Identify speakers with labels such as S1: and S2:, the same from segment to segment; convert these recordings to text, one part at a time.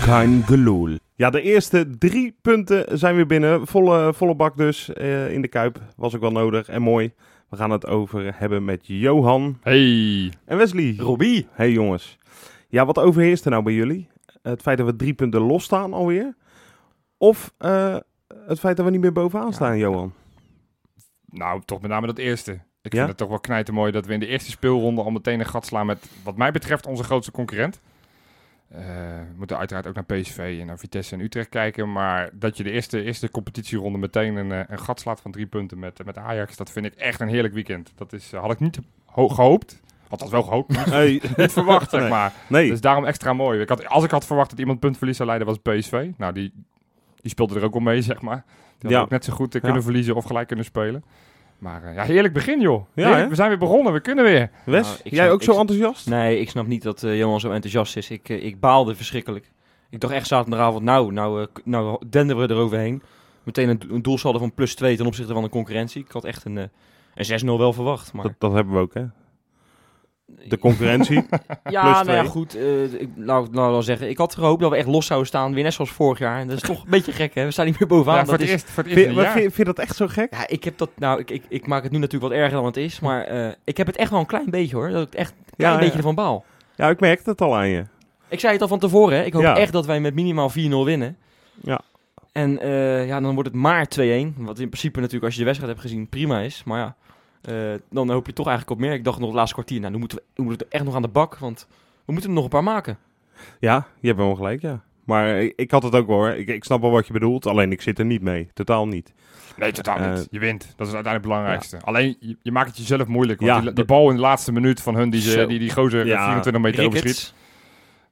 S1: Kein geloel.
S2: Ja, de eerste drie punten zijn weer binnen. Volle, volle bak dus eh, in de Kuip. Was ook wel nodig en mooi. We gaan het over hebben met Johan
S3: Hey.
S2: en Wesley.
S1: Robbie.
S2: Hey jongens. Ja, wat overheerst er nou bij jullie? Het feit dat we drie punten losstaan alweer? Of eh, het feit dat we niet meer bovenaan
S3: Ja.
S2: staan, Johan?
S3: Nou, toch met name dat eerste. Ik
S2: Ja?
S3: vind het toch wel knijtermooi dat we in de eerste speelronde al meteen een gat slaan met, wat mij betreft, onze grootste concurrent. Eh, we moeten uiteraard ook naar PSV en naar Vitesse en Utrecht kijken. Maar dat je de eerste, eerste competitieronde meteen een, eh, een gat slaat van drie punten met, met Ajax, dat vind ik echt een heerlijk weekend. Dat is, eh, had ik niet ho- gehoopt. Althans wel gehoopt, maar
S2: Hey.
S3: niet verwacht, zeg maar.
S2: Nee.
S3: Dus daarom extra mooi. Ik had, als ik had verwacht dat iemand puntverlies zou leiden, was het PSV. Nou, die, die speelde er ook wel mee, zeg maar. Die had
S2: Ja.
S3: ook net zo goed eh,
S2: Ja.
S3: kunnen verliezen of gelijk kunnen spelen. Maar eh, ja, heerlijk begin, joh.
S2: Ja,
S3: Heerlijk,
S2: hè?
S3: we zijn weer begonnen, we kunnen weer.
S2: Wes,
S1: Nou, ik
S2: jij
S1: snap-
S2: ook
S1: ik
S2: zo
S1: snap-
S2: enthousiast?
S1: Nee, ik snap niet dat eh, Johan zo enthousiast is. Ik, eh, ik baalde verschrikkelijk. Ik dacht echt zaterdagavond, nou, nou, eh, k- nou denderen we eroverheen. Meteen een, do- een doelsaldo van plus 2 ten opzichte van de concurrentie. Ik had echt een, eh, een 6-0 wel verwacht. Maar
S2: Dat, dat hebben we ook, hè? De concurrentie.
S1: ja,
S2: plus
S1: nou ja,
S2: twee.
S1: goed. eh, ik, nou, ik- nou, wel zeggen, ik had gehoopt dat we echt los zouden staan. Weer net zoals vorig jaar. En dat is toch een beetje gek, hè? We staan niet meer bovenaan.
S3: Ja, voor,
S1: dat
S3: het
S1: is,
S3: eerst, voor het eerst
S2: vind,
S3: in
S2: maar
S3: een jaar.
S2: vind, vind je dat echt zo gek?
S1: ja, ik heb dat, nou, ik, ik, ik maak het nu natuurlijk wat erger dan het is. Maar eh, ik heb het echt wel een klein beetje, hoor. Dat ik echt een klein
S2: ja.
S1: beetje ervan baal.
S2: Ja, ik merk het al aan je.
S1: Ik zei het al van tevoren, hè. ik hoop
S2: Ja.
S1: echt dat wij met minimaal 4-0 winnen.
S2: Ja.
S1: En eh, ja, dan wordt het maar 2-1. Wat in principe natuurlijk, als je de wedstrijd hebt gezien, prima is. Maar ja, eh, dan hoop je toch eigenlijk op meer. Ik dacht nog het laatste kwartier, nou, nu moeten we, we moeten echt nog aan de bak. Want we moeten er nog een paar maken.
S2: Ja, je hebt wel gelijk, ja. Maar ik, ik had het ook wel, hoor. Ik, ik snap wel wat je bedoelt, alleen ik zit er niet mee. Totaal niet.
S3: Nee, totaal
S2: Eh,
S3: niet. Je wint. Dat is uiteindelijk het belangrijkste. Alleen, je, je maakt het jezelf moeilijk. Want
S2: Ja,
S3: die, die
S2: dat-
S3: bal in de laatste minuut van hun, die, ze,
S1: Zo.
S3: die, die gozer
S2: Ja.
S3: 24 meter overschiet.
S1: Ricketts.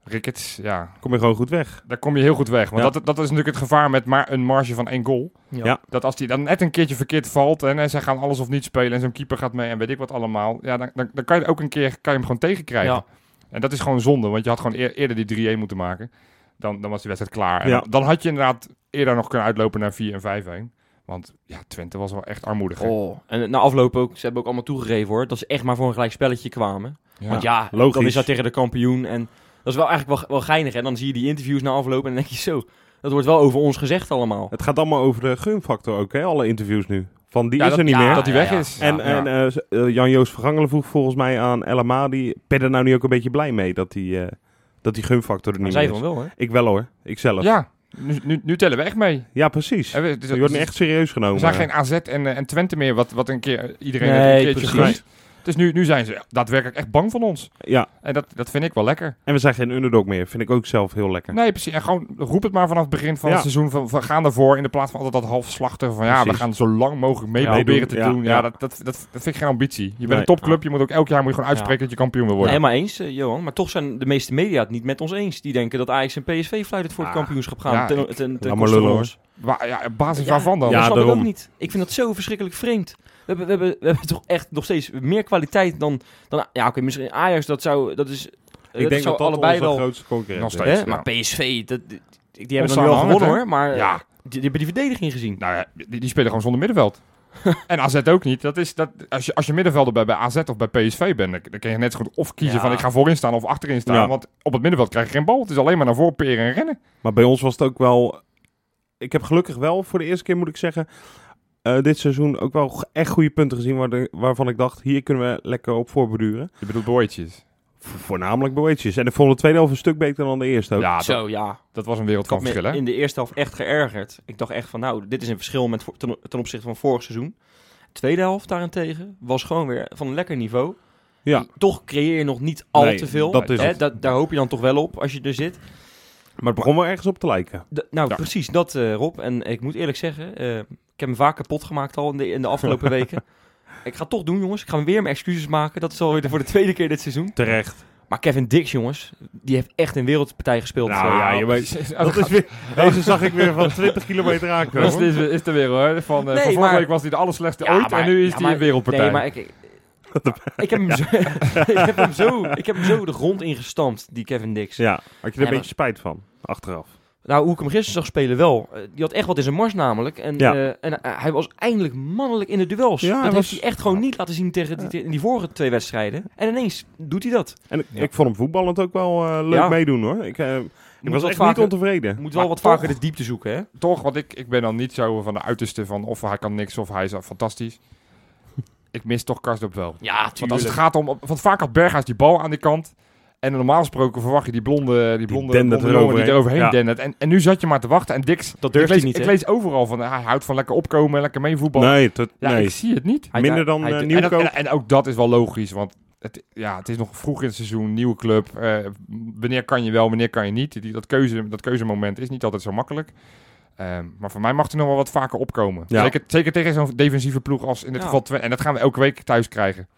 S3: Rickets, ja.
S2: Kom je gewoon goed weg.
S3: Daar kom je heel goed weg. Want
S2: Ja.
S3: dat, dat is natuurlijk het gevaar met maar een marge van één goal.
S2: Ja.
S3: Dat als die dan net een keertje verkeerd valt en, eh, zij gaan alles of niet spelen en zo'n keeper gaat mee en weet ik wat allemaal. Ja, dan, dan, dan kan je ook een keer kan je hem gewoon tegenkrijgen.
S1: Ja.
S3: En dat is gewoon zonde, want je had gewoon eer- eerder die 3-1 moeten maken. Dan, dan was die wedstrijd klaar. En
S2: Ja.
S3: dan, dan had je inderdaad eerder nog kunnen uitlopen naar 4 en 5-1. Want ja, Twente was wel echt armoedig. hè?
S1: Oh. En eh, na afloop ook, ze hebben ook allemaal toegegeven hoor, dat ze echt maar voor een gelijk spelletje kwamen.
S3: Ja.
S1: Want ja,
S2: logisch.
S1: dan is dat tegen de kampioen. En dat is wel eigenlijk wel, wel geinig. En dan zie je die interviews na aflopen en dan denk je zo, dat wordt wel over ons gezegd allemaal.
S2: Het gaat allemaal over de gunfactor ook, hè? Alle interviews nu. Van die
S3: Ja,
S2: is
S3: dat-
S2: er niet
S1: ja,
S2: meer.
S3: dat hij weg
S1: ja.
S3: is.
S2: En,
S3: Ja,
S2: en
S3: ja.
S2: eh, z- eh, Jan-Joost Vergangelen vroeg volgens mij aan El Amadi... Ben je er nou niet ook een beetje blij mee dat die, eh, dat die gunfactor er
S1: Maar
S2: niet
S1: zij
S2: meer
S1: van
S2: is?
S1: wel, hè?
S2: Ik wel hoor, ik zelf. Ja,
S3: Ja, nu, nu, nu tellen we echt mee.
S2: precies.
S3: Hè, we- dus-
S2: Je wordt niet echt serieus
S3: Er
S2: genomen.
S3: zijn geen AZ en, eh, en Twente meer, wat, wat een keer iedereen
S1: Nee,
S3: een keertje
S1: precies.
S3: gunt. Dus nu, nu zijn ze daadwerkelijk echt bang van ons.
S2: Ja,
S3: En dat, dat vind ik wel lekker.
S2: en we zijn geen underdog meer. Vind ik ook zelf heel lekker.
S3: Nee, precies. En gewoon roep het maar vanaf het begin van
S2: Ja.
S3: het seizoen. Van, we gaan ervoor in de plaats van altijd dat halfslachter van ja, we
S2: Precies.
S3: gaan zo lang mogelijk mee
S2: Ja,
S3: proberen te
S2: meedoen, ja,
S3: doen. Ja,
S2: ja.
S3: Dat, dat, dat, dat vind ik geen ambitie. Je bent
S2: Nee.
S3: een topclub, je moet ook elk jaar moet je gewoon uitspreken dat je kampioen wil worden.
S1: Helemaal eens, eh, Johan. Maar toch zijn de meeste media het niet met ons eens. Die denken dat Ajax en PSV fluitend voor het
S2: Ah,
S1: kampioenschap gaan.
S3: ja,
S1: ten,
S3: ik-
S1: ten, ten,
S2: Laat maar
S1: koste van
S2: lullen,
S1: ons.
S3: Waar- ja, op basis
S1: Ja.
S3: waarvan dan?
S1: Dat
S2: Ja,
S1: snap ik ook
S2: daarom.
S1: niet. Ik vind dat zo verschrikkelijk vreemd. We hebben, we hebben, we hebben toch echt nog steeds meer kwaliteit dan... dan ja, oké, misschien Ajax, dat zou... Dat is, eh,
S2: Ik denk
S1: zou
S2: dat dat
S1: allebei
S2: onze
S1: wel...
S2: grootste concurrent
S3: Nog
S2: is.
S3: steeds.
S1: Hè?
S3: Ja.
S1: Maar PSV, dat, die, die hebben dan nu wel
S3: Onsamenhangend,
S1: gewonnen
S3: hè?
S1: hoor. Maar
S3: Ja.
S1: eh, die, die hebben die verdediging gezien.
S3: Nou ja, die, die spelen gewoon zonder middenveld. en AZ ook niet. Dat is, dat, als, je, als je middenvelder bij, bij AZ of bij PSV bent, dan, dan kun je net zo goed of kiezen
S1: Ja.
S3: van ik ga voorin staan of achterin staan.
S2: Ja.
S3: Want op het middenveld krijg je geen bal. Het is alleen maar naar voren peren en rennen.
S2: Maar bij ons was het ook wel... Ik heb gelukkig wel voor de eerste keer, moet ik zeggen... eh, dit seizoen ook wel g- echt goede punten gezien... Waar de- waarvan ik dacht, hier kunnen we lekker op voorbeduren.
S3: Je bedoelt boytjes.
S2: Vo- voornamelijk boetjes. En ik vond de tweede helft een stuk beter dan de eerste ook.
S3: Ja, dat,
S1: Zo, ja.
S3: dat was een
S1: Ik
S3: wereld van
S1: had me
S3: verschil, hè?
S1: in de eerste helft echt geërgerd. Ik dacht echt van, nou, dit is een verschil met, vo- ten, ten opzichte van vorig seizoen. Tweede helft daarentegen was gewoon weer van een lekker niveau.
S2: Ja.
S1: Toch creëer je nog niet al
S2: Nee,
S1: te veel.
S2: dat is
S1: Hè,
S2: het.
S1: dat- daar hoop je dan toch wel op als je er zit.
S2: Maar het begon wel ergens op te lijken.
S1: D- nou,
S3: Ja.
S1: precies dat, eh, Rob. En ik moet eerlijk zeggen, eh, ik heb hem vaak kapot gemaakt al in de, in de afgelopen weken. Ik ga het toch doen, jongens. Ik ga weer mijn excuses maken. Dat is alweer de- voor de tweede keer dit seizoen.
S2: Terecht.
S1: Maar Kevin Dix, jongens, die heeft echt een wereldpartij gespeeld.
S2: Nou,
S1: Eh,
S2: ja,
S3: Ah,
S2: je weet-
S3: Oh,
S2: Dat is weer, deze zag ik weer van 20 kilometer aankomen.
S3: Dat is, is, is er weer hoor. Van, eh,
S1: Nee,
S3: van vorige
S1: maar-
S3: week was hij de allerslechtste
S1: Ja,
S3: ooit
S1: maar-
S3: en nu is
S1: ja,
S3: hij
S1: maar-
S3: een wereldpartij.
S1: Nee, maar ik, ik, ik heb hem zo, ik, heb hem zo, ik heb hem zo de grond ingestampt, die Kevin Dix.
S2: Ja, had je er
S1: Ja,
S2: een
S1: maar-
S2: beetje spijt van, achteraf.
S1: Nou, hoe ik hem gisteren zag spelen wel. Eh, die had echt wat in zijn mars namelijk. En,
S2: Ja.
S1: eh, en eh, hij was eindelijk mannelijk in de duels.
S2: Ja, hij
S1: dat heeft
S2: was-
S1: hij echt gewoon niet laten zien tegen die, in die vorige twee wedstrijden. En ineens doet hij dat.
S2: En ik,
S3: Ja.
S2: ik vond hem voetballend ook wel eh, leuk
S1: Ja.
S2: meedoen hoor. Ik, eh, ik
S1: Moet
S2: was
S1: wat
S2: echt
S1: vaker-
S2: niet ontevreden.
S1: Moet wel
S3: Maar
S1: wat
S3: toch-
S1: vaker de diepte zoeken, hè?
S3: Toch, want ik, ik ben dan niet zo van de uiterste van of hij kan niks of hij is fantastisch. ik mis toch Karsdorp wel.
S1: Ja,
S3: Want als het gaat om... Want vaak had Berghuis die bal aan die kant. En normaal gesproken verwacht je die blonde, die blonde,
S2: dendert
S3: blonde
S2: eroverheen.
S3: jongen die eroverheen
S2: Ja.
S3: dendert. En, en nu zat je maar te wachten. En Dix,
S1: Dat
S3: ik
S1: durft hij
S3: lees,
S1: niet,
S3: ik
S1: hè?
S3: lees overal van hij houdt van lekker opkomen, lekker meevoetballen.
S2: Nee, tot,
S3: Ja,
S2: nee.
S3: ik zie het niet.
S1: Hij-
S2: minder dan
S1: hij-
S2: eh,
S1: hij-
S3: En, dat-
S2: Nieuwkoop.
S3: en, en ook dat is wel logisch, want het, ja, het is nog vroeg in het seizoen, nieuwe club. eh, wanneer kan je wel, wanneer kan je niet. Die, dat, keuze, dat keuzemoment is niet altijd zo makkelijk. Ehm, maar voor mij mag hij nog wel wat vaker opkomen.
S2: Ja.
S3: Zeker, zeker tegen zo'n defensieve ploeg als in dit
S1: Ja.
S3: geval Twente. En dat gaan we elke week thuis krijgen.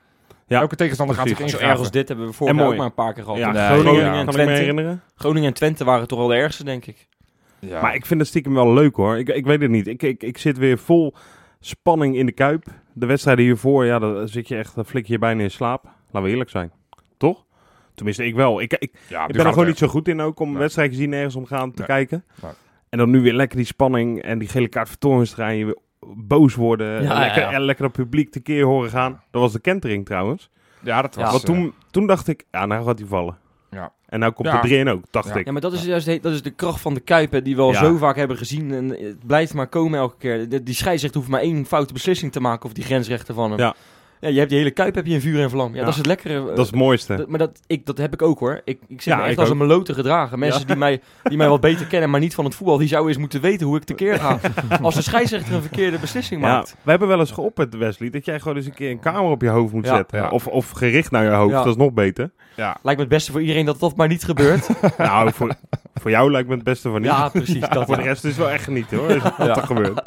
S2: Ja.
S3: Elke tegenstander gaat zich
S2: Precies.
S1: Zo erg
S3: ingraven.
S1: als dit hebben we
S2: En
S1: vorig jaar ook
S2: mooi.
S1: maar een paar keer gehad.
S2: ja,
S3: Nee,
S2: Groningen,
S1: Groningen en
S2: kan ik me
S1: Twente.
S2: herinneren.
S1: Groningen en Twente waren toch wel de ergste, denk ik.
S3: Ja.
S2: Maar ik vind het stiekem wel leuk hoor. Ik, ik weet het niet. Ik, ik, ik zit weer vol spanning in de kuip. De wedstrijden hiervoor, ja, dan zit je echt, dan flik je je bijna in slaap. Laten we eerlijk zijn. Toch? Tenminste, ik wel. Ik, ik, ik
S3: ja, nu
S2: ben er
S3: gaat
S2: gewoon
S3: het
S2: niet zo goed in ook om
S3: Nee.
S2: wedstrijden zien ergens om gaan te
S3: Nee.
S2: kijken.
S3: Nee.
S2: En dan nu weer lekker die spanning en die gele kaart van Toornstra en je weer boos worden.
S1: Ja,
S2: en,
S1: ja,
S2: lekker,
S1: ja.
S2: en lekker het publiek tekeer horen gaan. Dat was de kentering trouwens.
S3: echt. Ja, dat was...
S1: Ja.
S3: eh,
S2: Want toen, toen dacht ik, ja, nou gaat hij vallen.
S3: Ja.
S2: En nou komt
S3: Ja.
S2: de 3 in ook, dacht
S3: Ja.
S2: ik.
S1: Ja, maar dat is juist de, dat is de kracht van de Kuipen die we al
S2: Ja.
S1: zo vaak hebben gezien. En het blijft maar komen elke keer. De- die scheidsrechter hoeft maar één foute beslissing te maken of die grensrechter van hem.
S2: Ja.
S1: Ja, je hebt die hele Kuip heb je in vuur en vlam. Ja,
S2: Ja.
S1: dat is het lekkere. eh,
S2: Dat is het mooiste.
S1: dat- maar dat, ik, dat heb ik ook hoor. Ik, ik zit
S2: Ja,
S1: me echt
S2: ik
S1: als
S2: ook.
S1: een melote gedragen. Mensen die, mij, die mij wat beter kennen, maar niet van het voetbal, die zouden eens moeten weten hoe ik tekeer ga. als de scheidsrechter een verkeerde beslissing
S2: ja,
S1: maakt.
S2: we hebben wel eens geopperd, Wesley, dat jij gewoon eens een keer een kamer op je hoofd moet
S1: Ja.
S2: zetten.
S3: Ja.
S2: Of, of gericht naar je hoofd,
S1: Ja.
S2: dat is nog beter.
S3: ja.
S1: Lijkt me het beste voor iedereen dat dat maar niet gebeurt.
S2: nou, voor, voor jou lijkt me het beste van niet. Nou,
S1: ja, precies. Dat,
S2: voor de
S1: ja.
S2: rest is wel echt genieten hoor, als wat er gebeurt.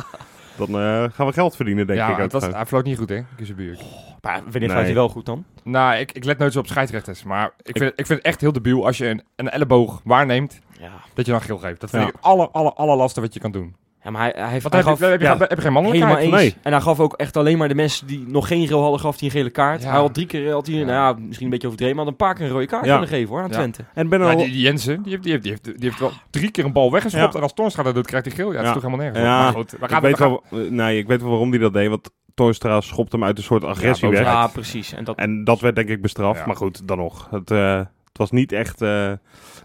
S2: Dan eh, gaan we geld verdienen, denk
S3: Ja,
S2: ik.
S3: het
S2: Ook
S3: was,
S2: gewoon.
S3: hij floot niet goed, hè, Kiezenbuur.
S1: Maar wanneer gaat
S2: Nee.
S1: hij wel goed dan?
S3: Nou, ik, ik let nooit zo op scheidsrechters. Maar ik vind, ik, vind het echt heel debiel als je een, een elleboog waarneemt,
S1: Ja,
S3: dat je dan geel geeft. Dat vind
S2: Ja.
S3: ik het aller, aller, allerlaatste wat je kan doen.
S1: maar hij, hij, heeft-
S3: Want
S1: hij
S3: heb,
S1: gaf...
S3: je, heb, je,
S2: ja.
S3: heb je geen mannelijkheid?
S1: Helemaal eens.
S2: Nee.
S1: En hij gaf ook echt alleen maar de mensen die nog geen geel hadden, gaf hij een gele kaart.
S3: Ja.
S1: Hij had drie keer, had hij,
S3: Ja.
S1: nou ja, misschien een beetje overdreven, maar had een paar keer een rode kaart
S2: Ja.
S1: kunnen geven hoor, aan
S3: Ja.
S1: Twente.
S2: En ben
S3: Ja,
S2: al...
S3: die, die Jensen, die heeft, die, heeft, die, heeft, die heeft wel drie keer een bal weggeschopt.
S2: Ja.
S3: En als Toornstra dat doet, krijgt hij geel. Ja, dat
S2: Ja.
S3: is toch helemaal nergens. op.
S2: Ja.
S3: Maar goed, we
S2: ik,
S3: gaan,
S2: weet
S3: we gaan-
S2: wel, eh, nee, ik weet wel waarom die dat deed, want Toystra schopt hem uit een soort agressie
S3: Ja,
S2: weg.
S3: boosheid.
S1: Ja, precies. En dat,
S2: En dat werd denk ik bestraft,
S3: Ja.
S2: maar goed, dan nog. Het, eh, het was niet echt, eh,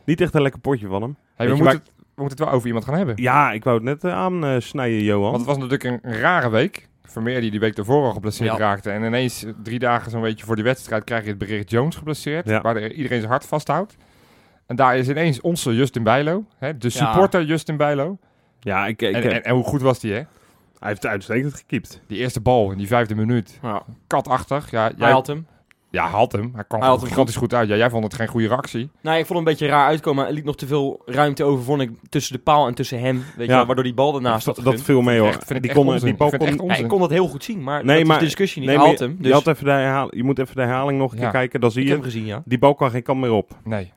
S2: niet echt een lekker potje van hem.
S3: Hey,
S2: Weet
S3: we,
S2: je
S3: moeten
S2: waar-
S3: het, we moeten het wel over iemand gaan hebben.
S2: Ja, ik wou het net eh, aansnijden, Johan.
S3: Want het was natuurlijk een, een rare week. Vermeer die die week daarvoor al geblesseerd
S1: Ja.
S3: raakte. En ineens eh, drie dagen zo'n beetje voor die wedstrijd krijg je het bericht Jones geblesseerd.
S2: Ja.
S3: Waar de- iedereen zijn hart vasthoudt. En daar is ineens onze Justin Bijlo. Hè, de
S1: Ja. eh,
S3: supporter Justin Bijlo.
S2: ja, ik, ik,
S3: En, en, en hoe goed was die hè?
S2: hij heeft uitstekend gekiept.
S3: Die eerste bal in die vijfde minuut.
S1: ja,
S3: Katachtig. Ja, jij,
S1: hij had hem.
S3: ja, had hem. Hij kwam
S1: Hij had hem
S3: gigantisch goed uit. Ja, jij vond het geen goede reactie.
S1: Nou, ik vond hem een beetje raar uitkomen. Hij liet nog te veel ruimte over, vond ik, tussen de paal en tussen hem. Weet je,
S2: Ja.
S1: wel, waardoor die bal daarnaast
S2: dat,
S1: had
S2: dat
S1: gegund.
S2: viel mee, hoor.
S3: Echt, vind ik
S2: die
S3: echt
S2: kon,
S3: onzin.
S2: die bal
S3: Ik vind het
S2: kon...
S3: echt
S1: Ja, ik kon dat heel goed zien, maar
S2: Nee,
S1: dat
S2: maar-
S1: is de discussie niet.
S2: Nee,
S1: hij
S2: maar
S1: had hem, dus
S2: Je, had even de herhaling, je moet even de herhaling nog een
S3: Ja.
S2: keer kijken, dan zie
S1: ik
S2: je...
S1: heb hem gezien, ja.
S2: Die bal kan geen kant meer op.
S3: Nee.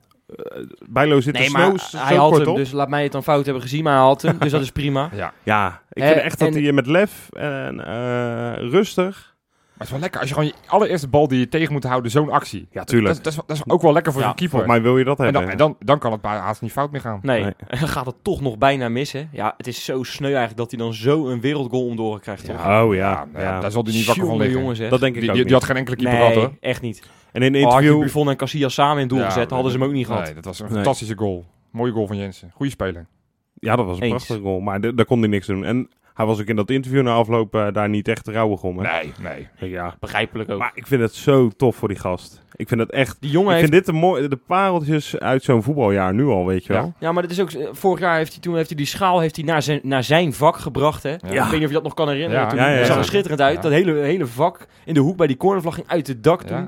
S2: Bijlo zit
S1: Nee,
S2: er
S1: maar
S2: snow, zo
S1: hij had
S2: kort
S1: hem,
S2: op.
S1: dus laat mij het dan fout hebben gezien, maar hij had hem, dus dat is prima.
S3: Ja.
S2: Ja, ik
S1: Eh,
S2: vind echt dat
S1: en-
S2: hij met lef en eh, rustig...
S3: Maar het is wel lekker als je gewoon je allereerste bal die je tegen moet houden, zo'n actie.
S2: Ja,
S3: Dat,
S2: tuurlijk.
S3: is- dat, is, dat is ook wel lekker voor
S2: Ja,
S3: zo'n keeper.
S2: Volgens mij wil je dat
S3: En,
S2: hebben.
S3: dan, en dan, dan kan het bij haast niet fout meer gaan.
S1: Nee,
S2: Nee.
S1: en dan gaat het toch nog bijna mis, hè? Ja, het is zo sneu eigenlijk dat hij dan zo een wereldgoal om de oren krijgt. toch?
S3: Ja,
S2: oh
S3: Ja,
S2: ja,
S3: nou
S2: ja,
S3: ja, daar zal hij niet wakker van
S1: Tjonge
S3: liggen.
S1: jongens, hè?
S2: dat denk ik
S3: Die, die,
S2: ook
S3: die
S2: niet.
S3: had geen enkele keeper gehad, hoor.
S1: Nee, echt niet.
S2: En in een
S1: Al Oh, had je
S2: interview...
S1: Buffon en Casillas samen in het doel
S3: Ja,
S1: gezet, hadden ze hem ook niet gehad.
S3: Nee, dat was een
S2: Nee.
S3: fantastische goal. Mooie goal van Jensen. Goeie speler.
S2: Ja, dat was een
S1: Eens.
S2: prachtige goal, maar d- daar kon hij niks doen. En hij was ook in dat interview na afloop eh, daar niet echt rauwig om. Hè?
S3: Nee, nee.
S2: Ja.
S1: Begrijpelijk ook.
S2: Maar ik vind het zo tof voor die gast. Ik vind het echt.
S1: die jongen
S2: ik
S1: heeft...
S2: vind dit de, mooi, de pareltjes uit zo'n voetbaljaar nu al, weet je wel.
S1: Ja, maar dat is ook... eh, Vorig jaar heeft hij, toen heeft hij die schaal heeft hij naar, zijn, naar zijn vak gebracht, hè? Ik weet niet of je dat nog kan herinneren.
S3: Ja.
S1: toen
S2: Ja, ja,
S1: dat zag
S2: ja.
S1: er schitterend uit.
S3: Ja.
S1: Dat hele, hele vak in de hoek bij die cornervlag ging uit het dak toen.
S3: Ja.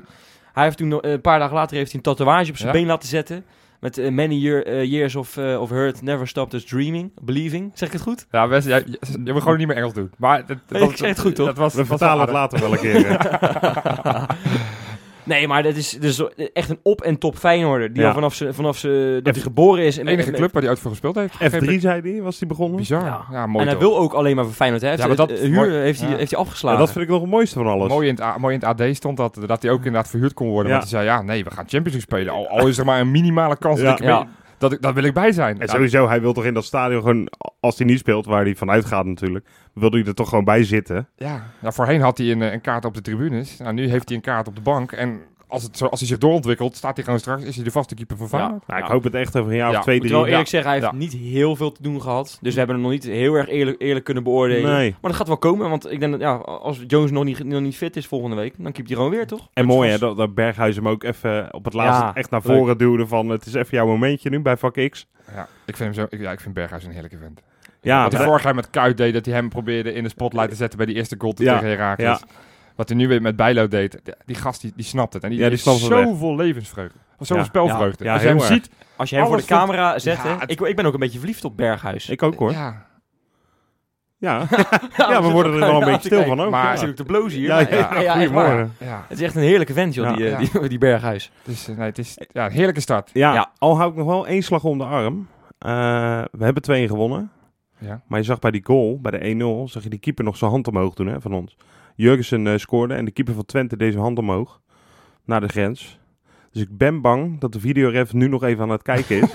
S1: Hij heeft toen nog- een paar dagen later heeft hij een tatoeage op zijn
S3: Ja.
S1: been laten zetten. Met eh, many year, eh, years of, eh, of hurt, never stopped us dreaming, believing. Zeg ik het goed?
S3: Ja, Wes, jij- je, je moet gewoon niet meer Engels doen. Maar dat, dat
S1: ik zeg het goed, toch?
S3: Dat was,
S2: We
S3: was
S2: vertalen het
S3: wel aardig.
S2: later wel een keer. hè.
S1: Nee, maar dat is, dat is echt een op- en top Feyenoorder. Die
S2: Ja.
S1: al vanaf, ze, vanaf ze, dat
S2: F-
S1: hij geboren is.
S3: De
S1: En,
S3: enige
S1: en-
S3: club waar hij ooit voor gespeeld heeft.
S2: F3 zei hij, was hij begonnen.
S3: Bizar.
S1: Ja.
S3: Ja, mooi
S1: en hij
S3: toch.
S1: wil ook alleen maar voor Feyenoord. Hè? Hij
S3: Ja,
S1: heeft
S3: maar
S1: het- eh,
S3: dat-
S1: huur
S3: mooi.
S1: heeft, hij,
S3: Ja.
S1: heeft hij
S2: Ja,
S1: afgeslagen.
S2: dat vind ik nog het mooiste van alles.
S3: Mooi in, het, A- mooi in het AD stond dat, dat hij ook inderdaad verhuurd kon worden.
S2: Ja.
S3: Want hij zei, ja, nee, we gaan Champions League spelen. Al, al is er maar een minimale kans
S2: Ja.
S3: dat, ik,
S1: Ja.
S3: dat, ik, dat wil ik bij zijn. Nou,
S2: En
S3: Ja,
S2: sowieso, hij wil toch in dat stadion gewoon, als hij niet speelt, waar hij vanuit gaat natuurlijk, wil hij er toch gewoon bij zitten.
S3: Ja, nou, voorheen had hij een, eh, een kaart op de tribunes. Nou, nu heeft hij een kaart op de bank. En als, het zo, als hij zich doorontwikkelt, staat hij gewoon straks. Is hij de vaste keeper van Feyenoord?
S2: Nou, ik
S1: Ja.
S2: hoop het echt over een jaar
S3: Ja,
S2: of twee,
S1: Ik moet
S2: drie.
S1: wel eerlijk zeggen, hij heeft
S3: Ja.
S1: niet heel veel te doen gehad. Dus we hebben hem nog niet heel erg eerlijk, eerlijk kunnen beoordelen.
S2: Nee.
S1: Maar dat gaat wel komen, want ik denk dat ja, als Jones nog niet, nog niet fit is volgende week, dan keept hij gewoon weer, toch?
S2: En mooi hè, dat, dat Berghuis hem ook even op het laatste
S1: Ja,
S2: echt naar
S1: leuk.
S2: voren duwde van het is even jouw momentje nu bij vak X.
S3: Ja, ik, vind hem zo, ik, ja ik vind Berghuis een heerlijke vent.
S2: Ja,
S3: Wat hij
S2: dat-
S3: vorig jaar met Kuit deed, dat hij hem probeerde in de spotlight te zetten bij die eerste goal
S2: Ja,
S3: tegen Herakles. Wat hij nu weer met Bijlo deed, die- die gast die, die snapt het. En die,
S2: Ja, die
S3: heeft
S2: snapt het echt.
S3: zoveel levensvreugde. Zoveel
S2: Ja.
S3: spelvreugde.
S2: Ja. Ja,
S3: Als je hem
S2: heel erg.
S3: ziet,
S1: Als je hem voor de
S3: Alles wat-
S1: camera zet,
S3: Ja,
S1: hè?
S3: het-
S1: Ik, ik ben ook een beetje verliefd op Berghuis.
S2: ik ook hoor. Ja,
S3: ja,
S2: we worden er wel een
S1: dus Ja,
S2: beetje stil van ook.
S3: maar-
S1: Hij
S2: ja.
S1: zit ook te blozen hier.
S2: Ja,
S1: maar-
S2: ja,
S1: echt
S2: goedemorgen.
S1: waar.
S3: ja.
S1: Het is echt een heerlijke vent, joh,
S2: Ja.
S1: die, eh,
S3: Ja.
S1: die, die Berghuis.
S3: Dus, eh, nee, het is ja, een heerlijke start.
S2: Ja,
S1: Ja.
S2: al hou ik nog wel één slag om de arm. Eh, we hebben 2-1 gewonnen.
S3: Ja.
S2: Maar je zag bij die goal, bij de 1-0, zag je die keeper nog zijn hand omhoog doen hè, van ons. Jurgensen eh, scoorde en de keeper van Twente deed zijn hand omhoog naar de grens. Dus ik ben bang dat de videoref nu nog even aan het kijken is.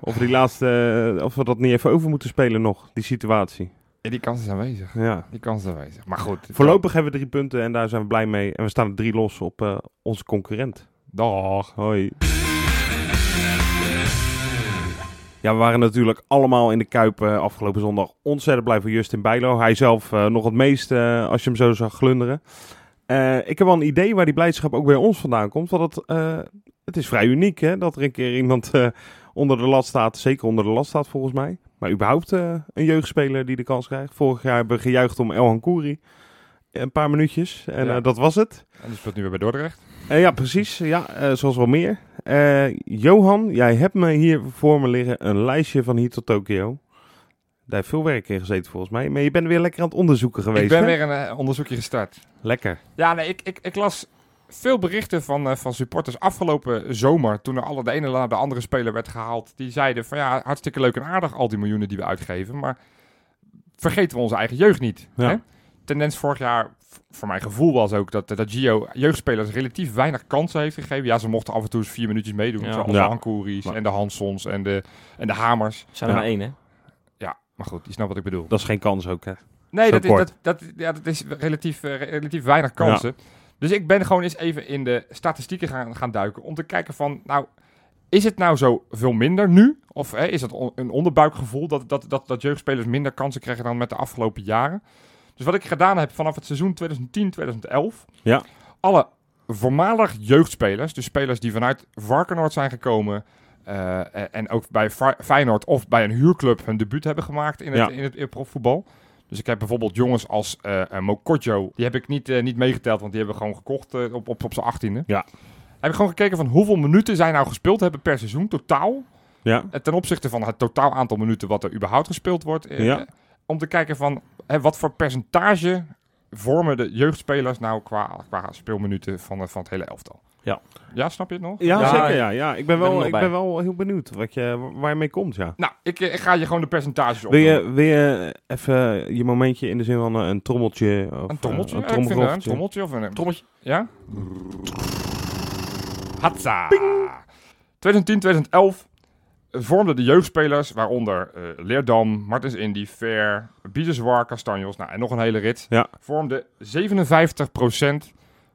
S2: of, die laatste, eh, of we dat niet even over moeten spelen nog, die situatie.
S3: Ja, die kans is aanwezig.
S2: Ja.
S3: Die kans is aanwezig. Maar goed.
S2: Voorlopig hebben we drie punten en daar zijn we blij mee. En we staan er drie los op eh, onze concurrent.
S3: Dag.
S2: Hoi. Ja, we waren natuurlijk allemaal in de Kuip eh, afgelopen zondag ontzettend blij voor Justin Bijlo. Hij zelf eh, nog het meest, eh, als je hem zo zag glunderen. Eh, ik heb wel een idee waar die blijdschap ook bij ons vandaan komt. Want het, eh, het is vrij uniek hè, dat er een keer iemand eh, onder de lat staat. Zeker onder de lat staat volgens mij. Maar überhaupt eh, een jeugdspeler die de kans krijgt. Vorig jaar hebben we gejuicht om El Hankouri. Een paar minuutjes en
S3: Ja.
S2: eh, dat was het.
S3: En die speelt nu weer bij Dordrecht.
S2: Eh, ja, precies. Ja, eh, zoals wel meer. Eh, Johan, jij hebt me hier voor me liggen een lijstje van hier tot Tokio. Daar heeft veel werk in gezeten volgens mij. Maar je bent weer lekker aan het onderzoeken geweest.
S3: Ik ben
S2: hè?
S3: weer een eh, onderzoekje gestart.
S2: Lekker.
S3: Ja, nee, ik, ik, ik las veel berichten van, eh, van supporters afgelopen zomer. Toen er alle de ene na de andere speler werd gehaald. Die zeiden van ja, hartstikke leuk en aardig al die miljoenen die we uitgeven. Maar vergeten we onze eigen jeugd niet.
S2: Ja.
S3: Hè? Tendens vorig jaar, v- voor mijn gevoel was ook dat, dat Gio jeugdspelers relatief weinig kansen heeft gegeven. Ja, ze mochten af en toe eens vier minuutjes meedoen.
S1: Ja.
S3: Zoals
S2: Ja.
S3: de Hankouris
S2: Maar-
S3: en de Hansons en de, en de Hamers.
S1: Zijn er
S2: Ja.
S1: maar één, hè?
S3: Ja, maar goed, je snapt wat ik bedoel.
S2: Dat is geen kans ook, hè?
S3: Nee,
S2: Zo
S3: dat is,
S2: kort.
S3: dat, dat, ja, dat is relatief, eh, relatief weinig kansen. Dus ik ben gewoon eens even in de statistieken gaan, gaan duiken. Om te kijken van, nou, is het nou zo veel minder nu? Of hè, is het on- een onderbuikgevoel dat, dat, dat, dat jeugdspelers minder kansen krijgen dan met de afgelopen jaren? Dus wat ik gedaan heb vanaf het seizoen 2010-2011.
S2: Ja.
S3: Alle voormalig jeugdspelers, dus spelers die vanuit Varkenoord zijn gekomen... eh, en- en ook bij Fa- Feyenoord of bij een huurclub hun debuut hebben gemaakt in het,
S2: Ja.
S3: in het, in het profvoetbal. Dus ik heb bijvoorbeeld jongens als eh eh, Mokotjo. Die heb ik niet, eh, niet meegeteld, want die hebben we gewoon gekocht eh, op, op, op zijn achttiende.
S2: Ja.
S3: Heb ik gewoon gekeken van hoeveel minuten zij nou gespeeld hebben per seizoen, totaal.
S2: Ja.
S3: eh, Ten opzichte van het totaal aantal minuten wat er überhaupt gespeeld wordt. eh,
S2: Ja.
S3: eh, Om te kijken van hè, wat voor percentage vormen de jeugdspelers nou qua, qua speelminuten van, eh, van het hele elftal.
S1: Ja.
S3: Ja, snap je het nog?
S2: Ja,
S1: Ja,
S2: zeker. Ja, ja. Ik, ben
S1: ik ben er
S2: wel,
S1: nog
S2: ik
S1: bij.
S2: ben wel heel benieuwd wat je, waar je mee komt, ja.
S3: Nou, ik, eh, ik ga je gewoon de percentages op.
S2: Wil je, wil je even je momentje in de zin van eh, een trommeltje? Of,
S3: Een trommeltje?
S2: eh,
S3: Ja,
S2: Een
S3: ik vind, eh, een
S2: trommelgroffeltje?
S3: trommeltje of een...
S1: Trommeltje.
S3: Ja? Hatsa! 2010, 2011 vormden de jeugdspelers, waaronder eh, Leerdam, Martens Indy, Ver, Biedeswar, Castanjos, nou, en nog een hele rit,
S2: Ja.
S3: vormden 57%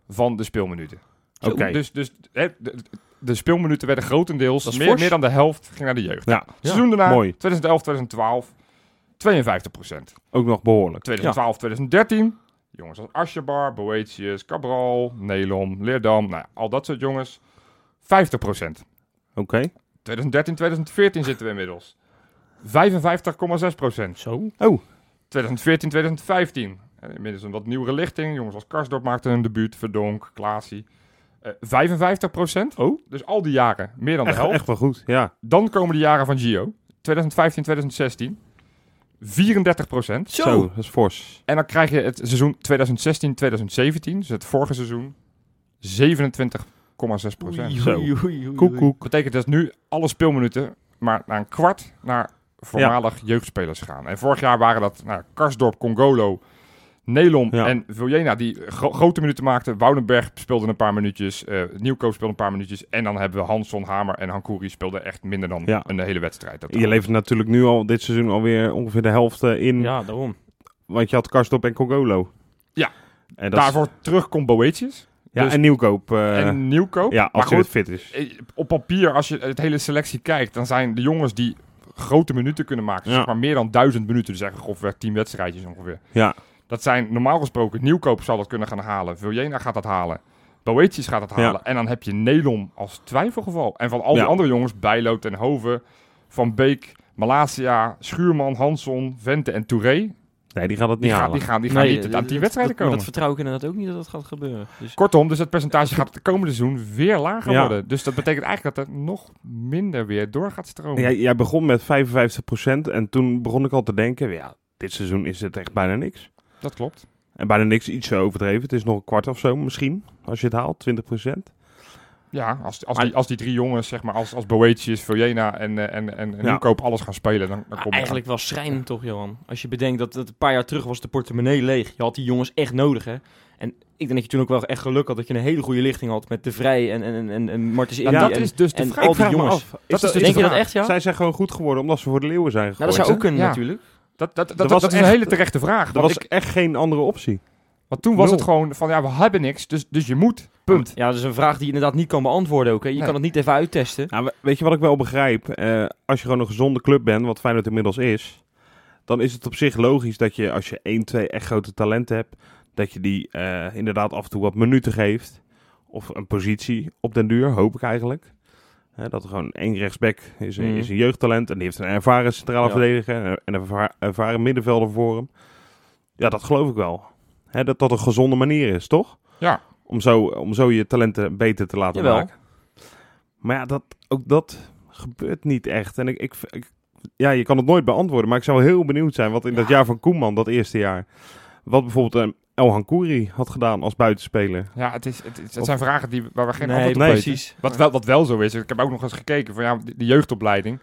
S3: van de speelminuten.
S2: Oké.
S3: Dus, dus hè, de, de speelminuten werden
S1: Dat
S3: grotendeels,
S1: is
S3: meer,
S1: fors.
S3: meer dan de helft, ging naar de jeugd.
S2: Ja,
S3: Seizoen daarna,
S2: Mooi.
S3: 2011, 2012, 52%.
S2: ook nog behoorlijk.
S3: 2012, 2013. Jongens als Asjebar, Boetius, Cabral, Nelom, Leerdam. Nou, ja, al dat soort jongens. 50%.
S2: Oké.
S3: 2013, 2014 zitten we inmiddels. 55,6%.
S1: Zo.
S2: Oh,
S3: 2014, 2015. En Eh, Inmiddels een wat nieuwere lichting. Jongens als Karsdorp maakten hun debuut. Verdonk, Klaasie. Eh 55%.
S2: Oh.
S3: Dus al die jaren meer dan de
S2: Echt,
S3: helft.
S2: echt wel goed, ja.
S3: Dan komen de jaren van Gio. 2015, 2016. 34%.
S1: Zo.
S2: Zo, dat is fors.
S3: En dan krijg je het seizoen 2016-2017, dus het vorige seizoen, 27,6 procent.
S2: Zo.
S1: Oei, oei, oei, oei.
S2: Koekoek.
S3: Betekent dus nu alle speelminuten maar naar een kwart naar voormalig jeugdspelers gaan. En vorig jaar waren dat nou, Karsdorp, Congolo, Nelom
S2: Ja.
S3: en Viljena die gro- grote minuten maakten. Woudenberg speelde een paar minuutjes, eh Nieuwkoop speelde een paar minuutjes. En dan hebben we Hansson, Hamer en Hankouri speelden echt minder dan
S2: Ja.
S3: een hele wedstrijd. Dat
S2: Je levert natuurlijk nu al dit seizoen alweer ongeveer de helft eh, in.
S1: Ja, daarom.
S2: Want je had Karstop en Congolo.
S3: Ja.
S2: En dat is-
S3: Daarvoor terug komt Boetjes
S2: ja,
S3: dus-
S2: en Nieuwkoop. eh,
S3: en Nieuwkoop.
S2: ja,
S3: maar
S2: als hij
S3: goed,
S2: het fit is.
S3: eh, op papier, als je het hele selectie kijkt, dan zijn de jongens die grote minuten kunnen maken.
S2: Ja.
S3: Zeg maar meer dan duizend minuten, dus eigenlijk grofweg tien wedstrijdjes ongeveer.
S2: Ja.
S3: Dat zijn normaal gesproken, Nieuwkoop zal dat kunnen gaan halen. Viljena gaat dat halen. Boetjes gaat dat
S2: Ja.
S3: halen. En dan heb je Nelom als twijfelgeval. En van al die
S2: Ja.
S3: andere jongens, Bijloot en Hoven, Van Beek, Malasia, Schuurman, Hansson, Vente en Touré.
S2: Nee, die gaat het
S3: Die,
S2: niet
S3: gaan,
S2: halen.
S3: die gaan, die gaan
S1: Nee,
S3: niet
S1: dat-
S3: aan die
S1: dat-
S3: wedstrijden
S1: dat-
S3: komen.
S1: maar Dat vertrouw ik inderdaad ook niet dat dat gaat gebeuren. Dus
S3: Kortom, dus het percentage gaat het komende seizoen weer lager
S2: Ja.
S3: worden. Dus dat betekent eigenlijk dat er nog minder weer door gaat stromen.
S2: Jij, jij begon met 55% en toen begon ik al te denken, ja, dit seizoen is het echt bijna niks.
S3: Dat klopt.
S2: En bijna niks iets zo overdreven. Het is nog een kwart of zo misschien, als je het haalt, 20%.
S3: Ja, als, als,
S2: Maar-
S3: die, als die drie jongens, zeg maar, als, als Boetius, Viljena en, eh, en, en,
S2: Ja.
S3: en Nieuwkoop alles gaan spelen, dan, dan
S1: Maar
S3: komt
S1: Ah, eigenlijk wel schrijnend toch, Johan? Als je bedenkt dat het een paar jaar terug was de portemonnee leeg. Je had die jongens echt nodig, hè? En ik denk dat je toen ook wel echt geluk had dat je een hele goede lichting had met De Vrij en, en, en, en, en Martens
S3: Ja,
S1: Indy
S3: dat
S1: en-
S3: is dus de
S1: en
S3: vraag.
S1: al
S2: Ik
S1: die
S2: vraag me
S1: jongens.
S2: af,
S3: Dat
S2: dat-
S3: is dus
S1: Denk
S3: de
S1: je dat
S3: vraag.
S1: echt, ja?
S2: Zij zijn gewoon goed geworden omdat ze voor de leeuwen zijn
S1: nou, dat
S2: gegooid.
S1: zou ook
S2: hè?
S1: kunnen
S3: Ja.
S1: natuurlijk.
S3: Dat, dat, dat,
S2: was
S3: dat is een
S2: echt-
S3: hele terechte vraag.
S2: Er
S3: Want,
S2: was
S3: ik,
S2: echt geen andere optie.
S3: want toen was
S2: nul.
S3: het gewoon van, ja, we hebben niks, dus, dus je moet. Punt.
S1: Ja, dat is een vraag die je inderdaad niet kan beantwoorden ook, hè? Je
S3: Nee.
S1: kan het niet even uittesten.
S2: Nou, we- weet je wat ik wel begrijp? Eh, als je gewoon een gezonde club bent, wat Feyenoord inmiddels is, dan is het op zich logisch dat je als je één, twee echt grote talenten hebt, dat je die eh, inderdaad af en toe wat minuten geeft. Of een positie op den duur, hoop ik eigenlijk. Hè, dat er gewoon één rechtsback is, een-
S1: Mhm.
S2: is een jeugdtalent en die heeft een ervaren centrale
S1: Ja.
S2: verdediger en een erva- ervaren middenvelder voor hem. Ja, dat geloof ik wel. Hè, dat dat een gezonde manier is, toch?
S3: Ja.
S2: Om zo, om zo je talenten beter te laten
S1: Jawel.
S2: maken. Maar ja, dat, ook dat gebeurt niet echt. En ik, ik, ik- ja, je kan het nooit beantwoorden, maar ik zou wel heel benieuwd zijn wat in dat jaar van Koeman, dat eerste jaar, wat bijvoorbeeld eh, El Hankouri had gedaan als buitenspeler.
S3: Ja, het, is, het, is- het
S2: Of-
S3: zijn vragen die, waar we geen
S1: nee,
S3: antwoord op weten.
S1: precies.
S3: Wat wel, wat wel zo is, ik heb ook nog eens gekeken van ja, de jeugdopleiding.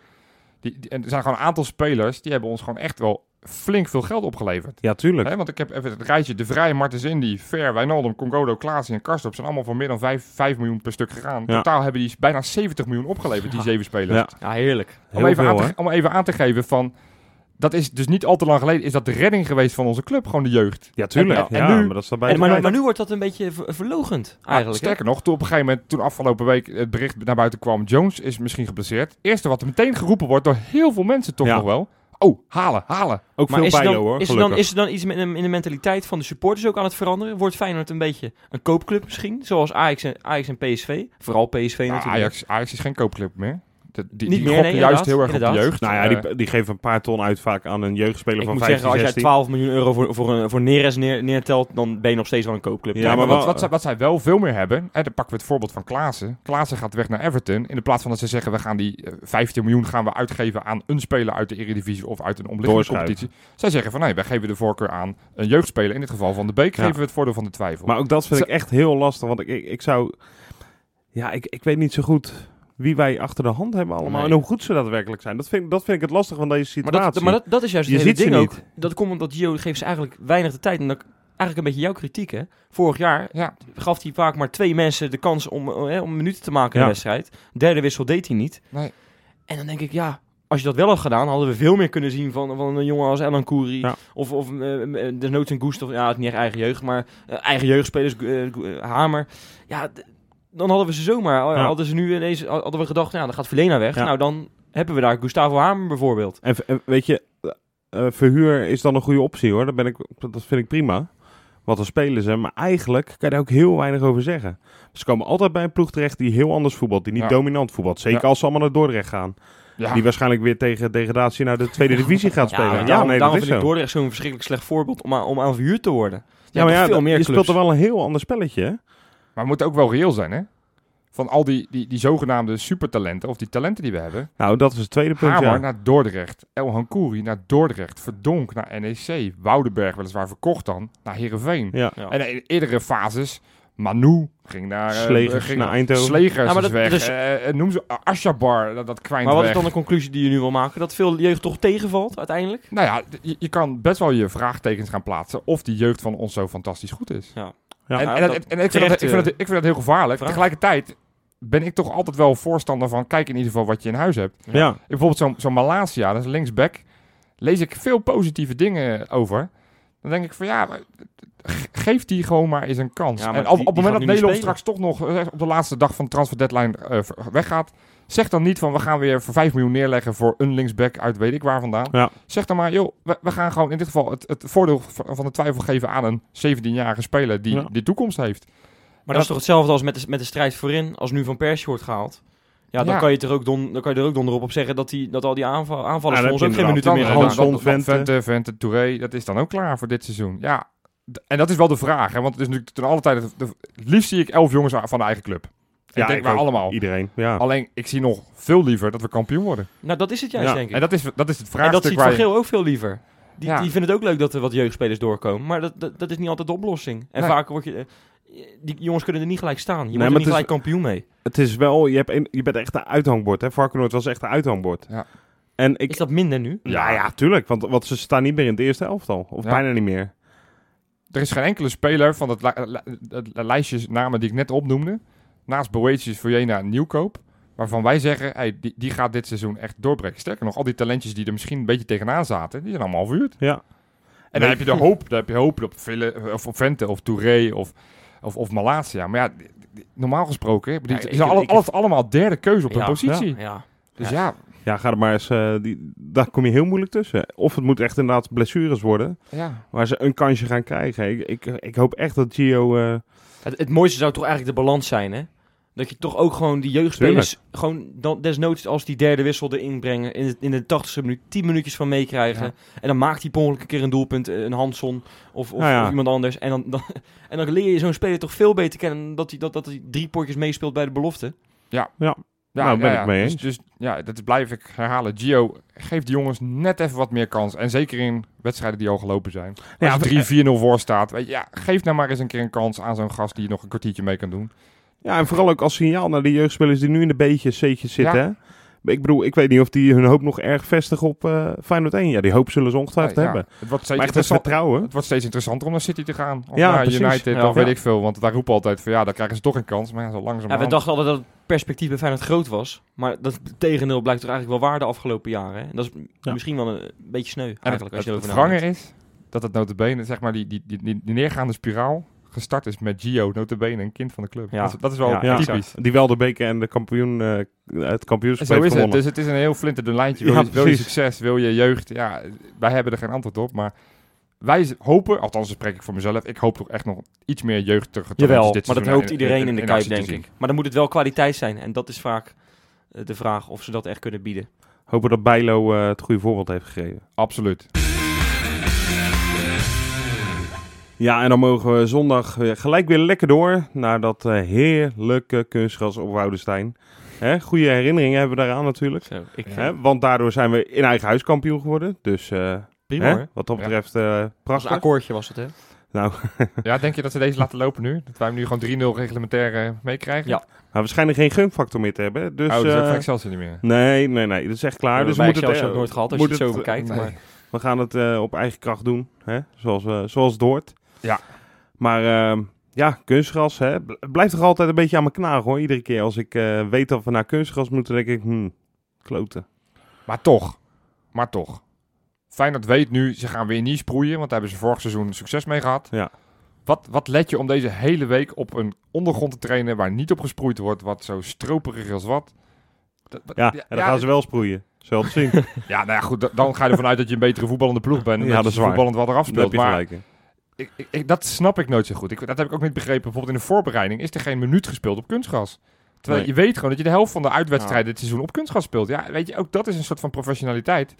S3: Die, die- en er zijn gewoon een aantal spelers die hebben ons gewoon echt wel flink veel geld opgeleverd.
S2: Ja, tuurlijk.
S3: Hè, want ik heb even het rijtje De Vrij, Martens Indy, Ver, Wijnaldum, Congolo, Klaassen en Karstorp zijn allemaal voor meer dan 5, miljoen per stuk gegaan.
S2: Ja.
S3: Totaal hebben die bijna 70 miljoen opgeleverd, die zeven spelers.
S2: Ja.
S1: Ja, heerlijk.
S2: Heel
S3: Om, even
S2: veel,
S3: aan te,
S2: hè?
S3: ge- om even aan te geven van, dat is dus niet al te lang geleden, is dat de redding geweest van onze club, gewoon de jeugd.
S2: Ja, tuurlijk.
S3: En- en-
S2: ja,
S3: en nu- ah,
S2: maar dat staat bij
S1: En,
S2: de
S1: maar,
S2: tijd.
S1: maar nu wordt dat een beetje ver- verlogend, eigenlijk. hè?
S3: Sterker nog, toen op een gegeven moment, toen afgelopen week het bericht naar buiten kwam, Jones is misschien geblesseerd. Eerste wat er meteen geroepen wordt door heel veel mensen toch
S2: Ja.
S3: nog wel. Oh, halen, halen.
S2: Ook
S1: Maar
S2: veel
S1: is er,
S2: bijlo
S1: dan,
S2: hoor,
S1: is, er dan,
S2: gelukkig.
S1: is er dan iets met in de mentaliteit van de supporters ook aan het veranderen? Wordt Feyenoord een beetje een koopclub misschien? Zoals Ajax en, Ajax en PSV? Vooral PSV
S3: Nou,
S1: natuurlijk.
S3: Ajax, Ajax is geen koopclub meer. De- die
S1: Niet
S3: die
S1: meer,
S3: gokken
S1: nee,
S3: juist
S1: inderdaad,
S3: heel erg op de
S1: inderdaad.
S3: jeugd.
S2: Nou ja,
S3: Eh,
S2: die, die geven een paar ton uit vaak aan een jeugdspeler
S1: Ik
S2: van
S1: moet
S2: 15,
S1: zeggen, als
S2: 16.
S1: jij 12 miljoen euro voor, voor, een, voor Neres neer, neertelt, dan ben je nog steeds wel een koopclub.
S2: Ja,
S3: Ja,
S2: maar
S3: maar
S2: wel-
S3: wat, wat, zij, wat zij wel veel meer hebben, hè, dan pakken we het voorbeeld van Klaassen. Klaassen gaat weg naar Everton. In de plaats van dat ze zeggen, we gaan die eh, 15 miljoen gaan we uitgeven aan een speler uit de Eredivisie of uit een omliggende
S2: Doorschuiven.
S3: competitie. Zij zeggen van, nee, wij geven de voorkeur aan een jeugdspeler. In dit geval van de Beek
S2: Ja.
S3: geven we het voordeel van de twijfel.
S2: Maar ook dat vind
S3: Zo-
S2: ik echt heel lastig, want ik, ik, ik zou... Ja, ik, ik weet niet zo goed wie wij achter de hand hebben allemaal
S1: Nee.
S2: en hoe goed ze daadwerkelijk zijn. Dat vind, dat vind ik het lastig van deze
S1: maar
S2: situatie.
S1: dat, maar dat, dat is juist
S2: Je
S1: het hele
S2: ziet ze
S1: ding ook.
S2: niet.
S1: Dat komt omdat Gio geeft ze eigenlijk weinig de tijd. En dat, eigenlijk een beetje jouw kritiek, hè? Vorig jaar
S3: ja,
S1: gaf hij vaak maar twee mensen de kans om, eh, hè, om minuten te maken in
S2: Ja.
S1: de wedstrijd. Derde wissel deed hij niet.
S3: Nee.
S1: En dan denk ik, ja, als je dat wel had gedaan, hadden we veel meer kunnen zien van, van een jongen als Elan Koeri.
S2: Ja.
S1: Of, of eh, eh, desnoods een Goest, of ja, het is niet echt eigen jeugd, maar eh, eigen jeugdspelers, eh, Go- eh, Hamer. Ja, d- dan hadden we ze zomaar. oh
S2: Ja.
S1: Hadden ze nu ineens, hadden we gedacht, nou, dan gaat Verlena weg.
S2: Ja.
S1: Nou, dan hebben we daar Gustavo Hamer bijvoorbeeld.
S2: En, v- en weet je, eh, eh, verhuur is dan een goede optie hoor. Dat, ben ik, dat vind ik prima. Wat er spelen ze. Maar eigenlijk kan je daar ook heel weinig over zeggen. Ze komen altijd bij een ploeg terecht die heel anders voetbalt. Die niet
S3: Ja.
S2: dominant voetbalt. Zeker
S3: Ja.
S2: als ze allemaal naar Dordrecht gaan.
S3: ja.
S2: Die waarschijnlijk weer tegen degradatie naar de tweede divisie gaat spelen. Ja,
S1: daarom, daarom
S2: nee, dat is
S1: vind
S2: zo.
S1: ik Dordrecht zo'n verschrikkelijk slecht voorbeeld om, aan- om aan verhuurd te worden.
S2: ja, maar ja,
S1: veel
S2: dat-
S1: meer
S2: je
S1: clubs.
S2: speelt er wel een heel ander spelletje. hè?
S3: maar we moeten ook wel reëel zijn, hè. Van al die, die, die zogenaamde supertalenten, of die talenten die we hebben.
S2: Nou, dat is het tweede punt.
S3: Hamer
S2: ja.
S3: naar Dordrecht. El Hankouri naar Dordrecht. Verdonk E naar NEC. Woudenberg weliswaar verkocht dan naar Heerenveen.
S2: Ja.
S1: Ja.
S3: En in eh, eerdere fases Manu ging naar... eh,
S2: Slegers
S3: ging
S2: naar Eindhoven.
S3: Slegers
S1: Ja, maar
S3: is
S1: dat-
S3: weg.
S1: dus-
S3: Eh, eh, noem ze... ah, Asjabar, dat, dat kwijnt
S1: Maar wat is
S3: weg.
S1: dan de conclusie die je nu wil maken? Dat veel jeugd toch tegenvalt uiteindelijk?
S3: Nou ja, d- je, je kan best wel je vraagtekens gaan plaatsen of die jeugd van ons zo fantastisch goed is.
S1: Ja.
S2: Ja.
S3: en,
S1: Ja,
S3: en dat- en
S1: dat-
S3: ik, vind
S1: terecht,
S3: dat, ik, vind dat,
S1: eh,
S3: ik vind dat heel gevaarlijk.
S1: vraag.
S3: Tegelijkertijd ben ik toch altijd wel voorstander van kijk in ieder geval wat je in huis hebt.
S2: Ja.
S3: Ik- Bijvoorbeeld zo'n zo'n Malasia, dat is linksback, lees ik veel positieve dingen over. Dan denk ik van ja, maar ge- geef die gewoon maar eens een kans.
S1: Ja, maar
S3: en op, op
S1: die-
S3: het
S1: die
S3: moment dat
S1: gaat nu niet
S3: Nederland
S1: spelen.
S3: straks toch nog eh, op de laatste dag van de transfer deadline eh, ver- weggaat, zeg dan niet van we gaan weer voor 5 miljoen neerleggen voor een linksback uit weet ik waar vandaan.
S2: Ja.
S3: Zeg dan maar, joh, we, we gaan gewoon in dit geval het, het voordeel v- van de twijfel geven aan een 17-jarige speler die
S2: Ja.
S3: die toekomst heeft.
S1: Maar dat is toch hetzelfde als met de, met de strijd voorin, als nu Van Persie wordt gehaald. Ja, dan,
S3: Ja.
S1: Kan, je het er ook don, dan kan je er ook donderop op zeggen dat, die, dat al die aanval, aanvallers
S2: Ja,
S1: voor
S2: dat
S1: ons ook
S3: Nou,
S1: geen
S2: inderdaad.
S1: minuten meer
S2: Dan-
S1: hebben.
S2: Hans- Hanson,
S3: Vente.
S2: Vente.
S3: Vente, Vente, eh, Touré, dat is dan ook klaar voor dit seizoen. Ja, d- en dat is wel de vraag. Hè, want het is natuurlijk ten alle tijde... de- het liefst zie ik elf jongens van de eigen club. Ik
S2: Ja,
S3: denk wij
S2: ook.
S3: allemaal.
S2: Iedereen. Ja.
S3: Alleen, ik zie nog veel liever dat we kampioen worden.
S1: Nou, dat is het juist,
S2: Ja,
S1: denk ik.
S3: En dat is, dat is het
S1: En dat
S3: vraagstuk
S1: ziet
S3: waar
S1: Van
S3: je-
S1: Geel ook veel liever. Die,
S3: Ja.
S1: die vinden het ook leuk dat er wat jeugdspelers doorkomen. Maar dat, dat, dat is niet altijd de oplossing. En
S3: Nee.
S1: vaak word je... eh, Die jongens kunnen er niet gelijk staan. Je
S2: maar
S1: wordt er
S2: het
S1: niet
S2: is-
S1: gelijk kampioen mee.
S2: Het is wel, je, hebt een- je bent echt een uithangbord. Hè? Varkenoord was echt een uithangbord.
S3: Ja.
S2: En ik,
S1: Is dat minder nu?
S2: Ja, ja, tuurlijk. Want, want ze staan niet meer in het eerste elftal. Of
S3: Ja.
S2: bijna niet meer.
S3: Er is geen enkele speler van dat, li- li- dat lijstje namen die ik net opnoemde. Naast Boetius, Vujena en Nieuwkoop. Waarvan wij zeggen, hey, die, die gaat dit seizoen echt doorbreken. Sterker nog, al die talentjes die er misschien een beetje tegenaan zaten, die zijn allemaal verhuurd.
S2: Ja.
S3: En dan heb je de hoop, dan heb je hoop op, Ville, of op Vente of Touré of, of, of Malasia. Maar ja, die- die- normaal gesproken, hè, die,
S1: Ja,
S3: die
S1: ik-
S3: zijn alle-
S1: ik-
S3: alles allemaal derde keuze op
S1: Ja,
S3: hun positie.
S1: Ja.
S3: Dus ja,
S2: Ja, ga er maar eens. eh, die, daar kom je heel moeilijk tussen. Of het moet echt inderdaad blessures worden.
S3: ja.
S2: Waar ze een kansje gaan krijgen. Ik, ik, ik hoop echt dat Gio. eh,
S1: Het, het mooiste zou toch eigenlijk de balans zijn, hè? Dat je toch ook gewoon die jeugdspelers... Gewoon dan, desnoods als die derde wissel erin brengen... in, het- in de tachtigste minuut tien minuutjes van meekrijgen... en dan maakt hij per ongeluk een keer een doelpunt... eh, een Hanson of, of,
S2: Nou ja.
S1: of iemand anders... En dan, dan, en dan leer je zo'n speler toch veel beter kennen... dan dat hij, dat, dat hij drie potjes meespeelt bij de belofte.
S3: Ja,
S2: Nou,
S3: ja,
S2: ben
S3: ja.
S2: ik mee
S3: dus,
S2: eens.
S3: dus ja, dat blijf ik herhalen. Gio, geef die jongens net even wat meer kans. En zeker in wedstrijden die al gelopen zijn.
S2: Ja,
S3: Als
S2: we-
S3: je 3-4-0 voor staat. Weet je, ja, geef nou maar eens een keer een kans aan zo'n gast die nog een kwartiertje mee kan doen.
S2: ja, en vooral ook als signaal naar die jeugdspelers die nu in de B'tjes, C'tjes
S3: Ja.
S2: zitten. hè. Ik bedoel, ik weet niet of die hun hoop nog erg vestigen op eh Feyenoord 1. Ja, die hoop zullen ze ongetwijfeld
S3: Nee, ja.
S2: hebben.
S3: Het, wordt
S2: Maar
S3: steeds
S2: echt het
S3: interessant-
S2: vertrouwen.
S3: het wordt steeds interessanter om naar City te gaan. Of
S2: Ja,
S3: naar
S2: precies.
S3: United,
S2: Ja.
S3: of weet
S2: Ja.
S3: ik veel. Want daar roepen altijd van ja, dan krijgen ze toch een kans. Maar ja, zo langzaam.
S1: Ja, we dachten altijd dat het perspectief bij Feyenoord groot was. Maar dat tegendeel blijkt toch eigenlijk wel waar de afgelopen jaren. Hè? En dat is m-
S2: Ja.
S1: misschien wel een, een beetje sneu
S3: En het,
S1: eigenlijk. als je
S3: het
S1: erover
S3: wrange
S1: nadenkt.
S3: is dat het notabene, zeg maar, die, die, die, die die neergaande spiraal gestart is met Gio, notabene een kind van de club.
S1: Ja.
S3: Dat, is, dat is wel
S2: Ja, ja.
S3: typisch.
S2: Die wel de beker en de kampioen, eh, het kampioenschap
S3: Zo
S2: heeft
S3: is het.
S2: gewonnen.
S3: Dus het is een heel flinterdun lijntje. Wil,
S2: Ja,
S3: je, wil je
S2: precies.
S3: succes, wil je jeugd? Ja, wij hebben er geen antwoord op. Maar wij z- hopen, althans dan spreek ik voor mezelf, ik hoop toch echt nog iets meer jeugdige talentjes
S1: Jawel,
S3: dit
S1: maar dat
S3: seizoen
S1: hoopt iedereen in de kuip,
S3: actie te
S1: denk
S3: zien.
S1: ik. Maar dan moet het wel kwaliteit zijn. En dat is vaak eh, de vraag of ze dat echt kunnen bieden.
S2: Hopen dat Bijlo eh, het goede voorbeeld heeft gegeven.
S3: Absoluut.
S2: Ja, en dan mogen we zondag eh, gelijk weer lekker door naar dat eh, heerlijke kunstgras op Woudenstein. Hè, goede herinneringen hebben we daaraan natuurlijk.
S1: Zo, ik, eh,
S2: Hè, want daardoor zijn we in eigen huis kampioen geworden. Dus eh,
S1: prima
S2: hè,
S1: hoor.
S2: wat dat
S3: Ja.
S2: betreft eh,
S1: Als een
S2: prachtig.
S1: akkoordje was het, hè?
S2: Nou,
S3: Ja, denk je dat ze deze laten lopen nu? Dat wij hem nu gewoon 3-0 reglementair eh, meekrijgen?
S1: Ja.
S2: maar we schijnen Nou, geen gunfactor meer te hebben. Dus,
S3: Oh, dat is ook
S2: eh,
S3: van Excelsior niet meer.
S2: nee, nee, nee. Dat is echt klaar.
S1: Hebben
S2: Dus we,
S1: we
S2: moeten het,
S1: bij Excelsior
S2: eh,
S1: ook nooit gehad, als je
S2: moet
S1: het zo bekijkt.
S3: Nee.
S1: Maar
S2: we gaan het eh, op eigen kracht doen. Hè? Zoals, eh, zoals het hoort.
S3: Ja.
S2: Maar ehm, ja, kunstgras. Hè? bl- Blijft toch altijd een beetje aan mijn knagen hoor. Iedere keer als ik eh, weet dat we naar kunstgras moeten, denk ik... Hmm, kloten.
S3: Maar toch. Maar toch. Fijn dat weet nu, ze gaan weer niet sproeien, want daar hebben ze vorig seizoen succes mee gehad.
S2: Ja.
S3: Wat, wat let je om deze hele week op een ondergrond te trainen waar niet op gesproeid wordt, wat zo stroperig als wat? Dat- dat-
S2: Ja, en dan gaan ze wel sproeien. Zal het zien.
S3: Ja, nou ja, goed, da- dan ga je ervan uit dat je een betere voetballende ploeg bent. En
S2: Ja, dat
S3: dat, je
S2: is waar.
S3: voetballend wat eraf
S2: Daar
S3: speelt.
S2: heb je
S3: Maar
S2: gelijk in.
S3: ik, ik, ik- dat snap ik nooit zo goed. Ik, dat heb ik ook niet begrepen. Bijvoorbeeld in de voorbereiding is er geen minuut gespeeld op kunstgras. Terwijl
S2: Nee.
S3: je weet gewoon dat je de helft van de uitwedstrijden dit seizoen op kunstgras speelt. Ja, weet je, ook dat is een soort van professionaliteit.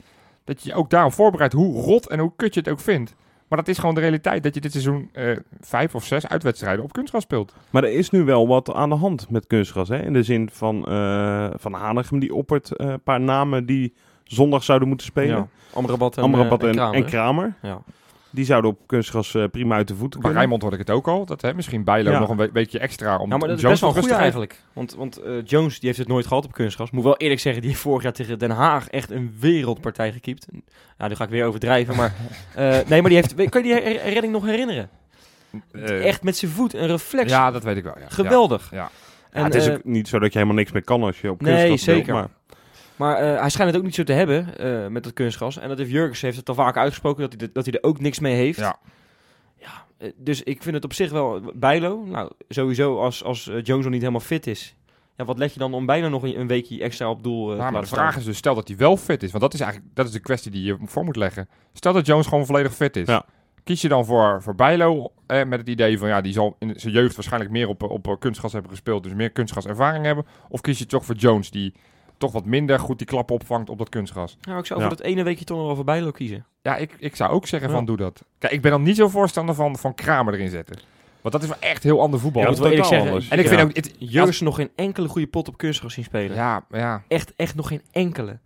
S3: Dat je je ook daarop voorbereidt hoe rot en hoe kut je het ook vindt. Maar dat is gewoon de realiteit dat je dit seizoen eh, vijf of zes uitwedstrijden op kunstgras speelt.
S2: Maar er is nu wel wat aan de hand met kunstgras. Hè? In de zin van eh Van Hanegem die oppert eh, een paar namen die zondag zouden moeten spelen.
S1: ja. Amrabat en,
S2: Amrabat
S1: eh,
S2: en,
S1: Kramer,
S2: en
S1: hè?
S2: Kramer.
S1: Ja.
S2: Die zouden op kunstgras eh, prima uit de voeten
S3: Bij
S2: kunnen.
S3: Rijmond hoorde ik het ook al. Dat hè, misschien Bijlo
S2: Ja.
S3: nog een we- beetje extra om
S1: Ja, maar dat
S3: om
S1: is
S3: Jones
S1: best wel
S3: wat
S1: goed
S3: rustiger.
S1: eigenlijk. Want, want eh, Jones die heeft het nooit gehad op kunstgras. Moet wel eerlijk zeggen, die heeft vorig jaar tegen Den Haag echt een wereldpartij gekiept. Nou, nu ga ik weer overdrijven, maar... eh, nee, maar die heeft... weet- Kan je die her- redding nog herinneren?
S3: Eh,
S1: echt met zijn voet, een reflex.
S3: Ja, dat weet ik wel. Ja.
S1: Geweldig.
S3: Ja, ja.
S1: En,
S2: Ja, het is
S1: eh,
S2: ook niet zo dat je helemaal niks meer kan als je op
S1: Nee,
S2: kunstgras speelt,
S1: zeker.
S2: maar-
S1: Maar eh, hij schijnt het ook niet zo te hebben eh, met dat kunstgras. En dat heeft Jurgens heeft het al vaak uitgesproken dat hij, er- dat hij er ook niks mee heeft.
S3: Ja.
S1: Ja, eh, dus ik vind het op zich wel Bijlo. Nou, sowieso als, als eh, Jones nog niet helemaal fit is. Ja, wat let je dan om Bijlo nog een, een weekje extra op doel eh,
S3: Ja,
S1: te
S3: maar de
S1: laten
S3: vraag
S1: staan?
S3: is dus, stel dat hij wel fit is. Want dat is eigenlijk dat is de kwestie die je voor moet leggen. Stel dat Jones gewoon volledig fit is.
S2: Ja.
S3: Kies je dan voor, voor Bijlo eh, met het idee van... ja, die zal in zijn jeugd waarschijnlijk meer op, op eh, kunstgras hebben gespeeld... dus meer kunstgraservaring hebben? Of kies je toch voor Jones die toch wat minder goed die klap opvangt op dat kunstgras?
S1: Nou, ik zou voor
S2: Ja.
S1: dat ene weekje toch nog wel voor Bijlo kiezen.
S3: Ja, ik, ik zou ook zeggen
S1: Ja.
S3: van doe dat. Kijk, ik ben dan niet zo voorstander van, van Kramer erin zetten. Want dat is wel echt heel ander voetbal.
S2: Ja,
S1: moet wel eerlijk zeggen.
S3: en ik
S2: Ja.
S3: vind ook... Het,
S1: Jurgens nog geen enkele goede pot op kunstgras zien spelen.
S3: ja, ja.
S1: Echt, echt nog geen enkele.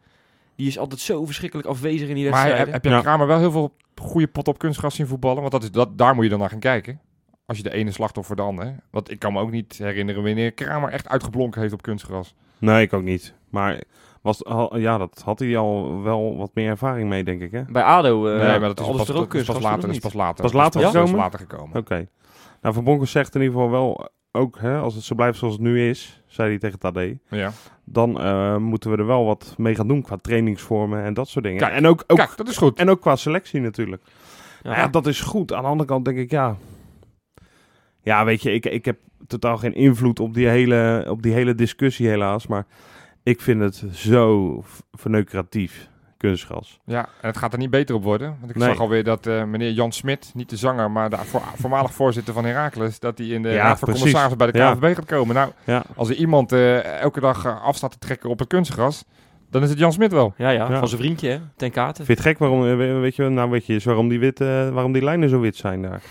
S1: Die is altijd zo verschrikkelijk afwezig in die
S3: Maar
S1: wedstrijden.
S3: heb, heb je
S2: Ja.
S3: Kramer wel heel veel goede pot op kunstgras zien voetballen? Want dat is, dat, daar moet je dan naar gaan kijken. Als je de ene slachtoffer de andere. Want ik kan me ook niet herinneren wanneer Kramer echt uitgeblonken heeft op kunstgras.
S2: Nee, ik ook niet. Maar was, al- ja, dat had hij al wel wat meer ervaring mee, denk ik, hè? Oké.
S1: Bij ADO eh
S3: nee, maar dat is
S1: alles
S3: pas,
S1: er
S3: dat
S1: ook
S3: is pas later.
S1: kunstgras. toch
S3: Dat is
S1: niet?
S3: pas later.
S2: Pas
S3: Dat
S2: later
S3: is pas- dat is
S2: gekomen?
S3: later gekomen.
S2: Nou, Van Bonkers zegt in ieder geval wel ook, hè, als het zo blijft zoals het nu is, zei hij tegen Tadé,
S3: Ja.
S2: dan eh, moeten we er wel wat mee gaan doen qua trainingsvormen en dat soort dingen.
S3: Kijk,
S2: en, ook, ook,
S3: Kijk, dat is goed.
S2: en ook qua selectie natuurlijk.
S1: Ja.
S2: Nou Ja, dat is goed. Aan de andere kant denk ik, ja... Ja, weet je, ik, ik heb totaal geen invloed op die, hele, op die hele discussie helaas. Maar ik vind het zo v- verneukeratief, kunstgras.
S3: Ja, en het gaat er niet beter op worden. Want ik
S2: Nee.
S3: zag alweer dat eh, meneer Jan Smit, niet de zanger, maar de voor- voormalig voorzitter van Heracles, dat hij in de
S2: Ja,
S3: Raad van
S2: precies.
S3: Commissarissen bij de
S2: Ja.
S3: KVB gaat komen. Nou,
S2: Ja.
S3: als er iemand eh, elke dag eh, af staat te trekken op het kunstgras, dan is het Jan Smit wel.
S1: Ja, ja,
S2: Ja.
S1: van zijn vriendje, hè? Ten Katen.
S2: Vind je het gek waarom, eh, we- weet je, wel, nou weet je, eens waarom die, wit, eh, waarom die lijnen zo wit zijn daar?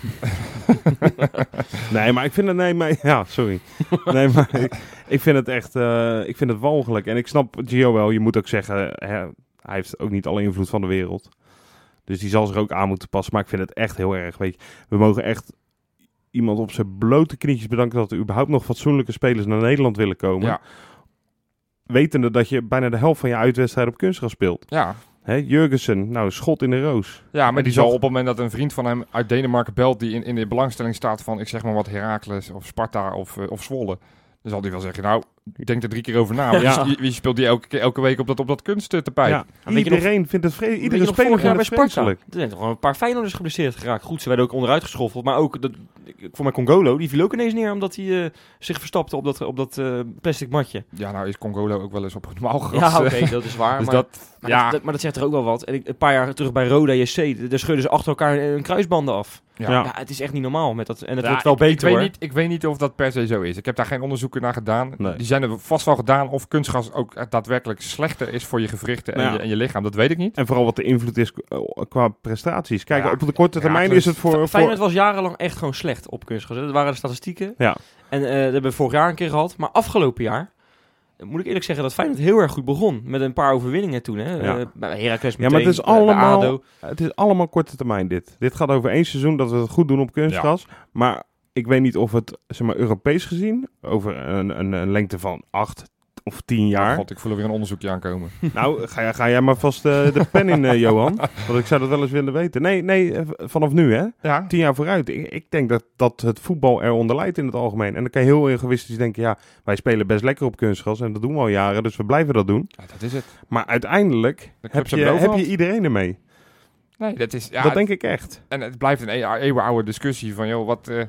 S2: nee, maar ik vind het, nee, maar, ja, sorry. Nee, maar ik, ik vind het echt, eh, ik vind het walgelijk. En ik snap Gio wel, je moet ook zeggen, hè, hij heeft ook niet alle invloed van de wereld. Dus die zal zich ook aan moeten passen, maar ik vind het echt heel erg, weet je. We mogen echt iemand op zijn blote knietjes bedanken dat er überhaupt nog fatsoenlijke spelers naar Nederland willen komen.
S3: Ja.
S2: Wetende dat je bijna de helft van je uitwedstrijd op kunstgras speelt.
S3: Ja,
S2: Hè, Jurgensen, nou, schot in de roos.
S3: Ja, maar
S2: die
S3: die zal
S2: zat-
S3: op het moment dat een vriend van hem uit Denemarken belt... die in, in de belangstelling staat van, ik zeg maar wat, Heracles of Sparta of, eh, of Zwolle... dan zal die wel zeggen, nou, denk er drie keer over na. want
S2: Ja.
S3: Wie, wie speelt die elke, keer- elke week op dat, op dat kunstterpijn?
S2: Ja,
S1: weet je
S2: iedereen vindt het vreselijk. Iedere speler
S1: vorig jaar bij
S2: vindt het
S1: Sparta. Er
S2: vreselijk.
S1: zijn toch gewoon een paar Feyenoorders geblesseerd geraakt. Goed, ze werden ook onderuit geschoffeld. Maar ook, dat, ik- voor mij Congolo, die viel ook ineens neer omdat hij eh, zich verstapte op dat, op dat eh, plastic matje.
S3: Ja, nou is Congolo ook wel eens op het normaal gras.
S1: Ja,
S3: eh.
S1: oké, dat is waar.
S3: Dus
S1: maar,
S3: dat,
S1: maar,
S3: ja,
S1: dat, dat- maar dat zegt er ook wel wat. En ik, een paar jaar terug bij Roda JC, daar scheurden ze achter elkaar eh, hun kruisbanden af.
S3: Ja.
S1: Ja, het is echt niet normaal. Met dat, en het
S3: Ja,
S1: wordt wel
S3: ik-
S1: beter
S3: ik weet,
S1: hoor.
S3: niet, ik weet niet of dat per se zo is. Ik heb daar geen onderzoeken naar gedaan.
S2: Nee.
S3: Die zijn er vast wel gedaan of kunstgas ook echt daadwerkelijk slechter is voor je gewrichten en,
S2: Nou ja.
S3: je, en je lichaam. Dat weet ik niet.
S2: En vooral wat de invloed is eh, qua prestaties. Kijk,
S3: Ja,
S2: op de korte termijn
S3: Heracles-
S2: is het voor...
S1: Feyenoord
S2: voor
S1: was jarenlang echt gewoon slecht op kunstgras. hè. Dat waren de statistieken.
S2: Ja.
S1: En eh, dat hebben we vorig jaar een keer gehad. Maar afgelopen jaar eh, moet ik eerlijk zeggen dat Feyenoord heel erg goed begon. Met een paar overwinningen toen. Hè?
S2: Ja.
S1: Eh, bij Heracles meteen,
S2: ja, maar het is,
S1: eh, bij
S2: allemaal,
S1: ADO.
S2: het is allemaal korte termijn dit. Dit gaat over één seizoen dat we het goed doen op kunstgras. Maar ik weet niet of het, zeg maar, Europees gezien... over een, een, een lengte van acht of tien
S1: Oh,
S2: jaar...
S3: God, ik voel er weer een onderzoekje aankomen.
S2: Nou, ga, jij- ga jij maar vast eh, de pen in, eh, Johan. Want ik zou dat wel eens willen weten. Nee, nee, eh, v- vanaf nu, hè.
S3: Ja,
S2: tien jaar vooruit. Ik, ik denk dat, dat het voetbal eronder leidt in het algemeen. En dan kan je heel egoïstisch denken, ja, wij spelen best lekker op kunstgras. En dat doen we al jaren, dus we blijven dat doen.
S3: ja dat is het.
S2: Maar uiteindelijk
S3: De
S2: heb
S3: clubs
S2: je,
S3: hebben
S2: heb
S3: de
S2: je
S3: overhand.
S2: iedereen ermee.
S3: Nee, dat is... Ja,
S2: dat denk ik echt.
S3: En het blijft een eeuw- eeuwenoude discussie van, joh, wat, eh,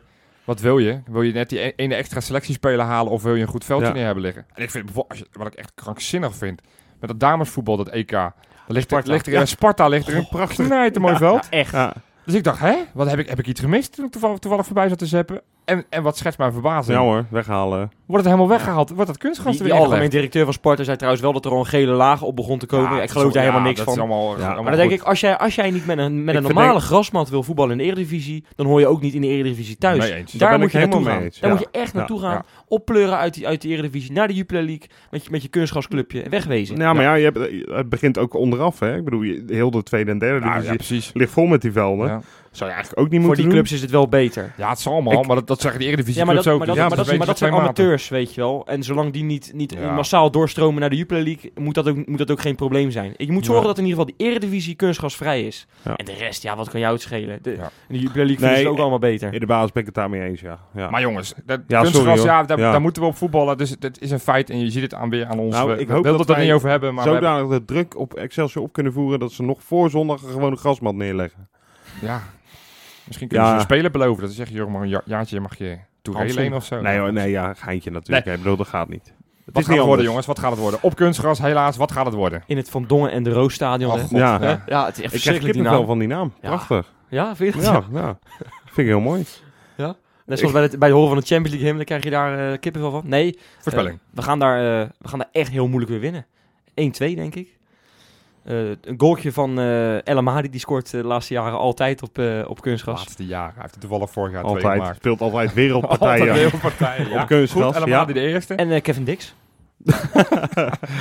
S3: wat wil je? Wil je net die e- ene extra selectiespeler halen of wil je een goed veldje
S2: Ja.
S3: neer hebben liggen? En ik vind, bijvoorbeeld, als je, wat ik echt krankzinnig vind, met dat damesvoetbal, dat EK, daar ligt, er,
S1: Sparta.
S3: ligt er
S2: Ja.
S3: in Sparta ligt er een
S2: Prachtig.
S3: knijter mooi
S1: Ja,
S3: veld.
S1: echt.
S2: Ja,
S3: Dus ik dacht, hè, wat heb ik, heb ik iets gemist toen ik toevallig, toevallig voorbij zat te zeppen? En, en wat schetst mijn verbazing?
S2: ja hoor, weghalen.
S3: Wordt het helemaal weggehaald? Wordt dat kunstgras
S1: Die,
S3: er
S1: die
S3: weer
S1: algemeen
S3: ingelegd?
S1: directeur van Sparta zei trouwens wel dat er al een gele laag op begon te komen.
S3: Ja,
S1: ik geloof daar
S3: ja,
S1: helemaal niks
S3: dat
S1: van.
S3: Is allemaal,
S2: Ja.
S3: allemaal
S1: maar dan denk
S3: goed.
S1: ik, als jij, als jij niet met een, met een
S2: verdenk-
S1: normale grasmat wil voetballen in de Eredivisie, dan hoor je ook niet in de Eredivisie thuis.
S3: Nee, eens.
S2: Daar
S1: Daar
S2: ben
S1: moet
S2: ik
S1: je
S2: helemaal
S1: naartoe
S2: mee
S1: gaan.
S2: eens,
S1: Daar
S2: ja.
S1: moet je echt
S2: Ja,
S1: naartoe
S3: ja.
S1: gaan. Oppleuren uit, die, uit de Eredivisie naar de Jupiler League met je, met je kunstgrasclubje en wegwezen.
S2: Nou, maar ja, je hebt, het begint ook onderaf, hè. Ik bedoel, je, heel de tweede en derde
S3: Ja, ja,
S2: divisie
S3: precies.
S2: ligt vol met die velden.
S3: Ja. Zou je eigenlijk ook niet
S1: Voor
S3: moeten
S1: die
S3: doen.
S1: clubs is het wel beter.
S3: Ja, het zal allemaal,
S2: Ik-
S3: maar dat, dat zeggen die Eredivisie
S1: Ja, maar dat,
S3: clubs ook.
S1: maar
S3: dus
S1: dat, maar
S3: het
S1: dat,
S3: is een
S1: maar dat
S3: beetje
S1: zijn
S3: twee maten.
S1: amateurs, weet je wel. En zolang die niet, niet
S3: Ja.
S1: massaal doorstromen naar de Jupiler League, moet dat ook, moet dat ook geen probleem zijn. Je moet zorgen
S2: Ja.
S1: dat in ieder geval die Eredivisie kunstgasvrij is.
S2: Ja.
S1: En de rest, ja, wat kan jou het schelen? De,
S3: Ja.
S1: de Jupiler League
S2: Nee,
S1: vinden ze het ook
S2: eh,
S1: allemaal beter.
S2: In de basis ben ik het daarmee eens, ja. ja.
S3: Maar jongens, dat
S2: Ja,
S3: kunstgras,
S2: sorry, hoor.
S3: ja, daar,
S2: Ja.
S3: daar moeten we op voetballen. Dus dat is een feit en je ziet het aan weer aan ons.
S2: Nou,
S3: We-
S2: ik
S3: we
S2: hoop
S3: wilden
S2: dat
S3: het er
S2: wij
S3: niet over hebben, maar we hebben-
S2: Zodanig de druk op Excelsior op kunnen voeren dat ze nog voor zondag gewoon een gewone grasmat neerleggen.
S3: ja, misschien kunnen ze
S2: Ja.
S3: een speler beloven. Dat ze zeggen, joh, maar een ja- jaartje mag je Touré
S2: Hansom.
S3: lenen of zo.
S2: Nee hoor, nee, Oh, ja, geintje natuurlijk. Ik bedoel, dat gaat niet. Het
S3: Wat
S2: is niet
S3: gaat het worden,
S2: anders.
S3: jongens? Wat gaat het worden? Op kunstgras, helaas. Wat gaat het worden?
S1: In het Van Dongen en de Roosstadion.
S3: Oh,
S1: hè?
S3: God.
S2: Ja.
S1: Hè?
S3: Ja.
S1: ja, het is echt
S2: Ik krijg
S1: verschrikkelijk die naam.
S2: kippenvel van die naam.
S1: Ja.
S2: Prachtig.
S1: Ja, vind je dat?
S2: Ja, ja. Vind ik heel mooi.
S1: Net zoals bij het, bij het horen van de Champions League hymne krijg je daar eh kippenvel van. Nee,
S3: Voorspelling.
S1: Eh, we, gaan daar, eh, we gaan daar echt heel moeilijk weer winnen. 1-2, denk ik. Eh, een goaltje van eh El Amadi, die scoort eh, de laatste jaren altijd op, eh, op
S3: De
S1: kunstgras.
S3: laatste jaren. Hij heeft er toevallig vorig jaar twee
S2: Altijd.
S3: gemaakt.
S2: Speelt altijd wereldpartijen.
S3: Altijd heel partijen. Ja.
S2: Op kunstgras,
S3: Goed,
S2: ja.
S3: helemaal die de eerste.
S1: En eh, Kevin Dix.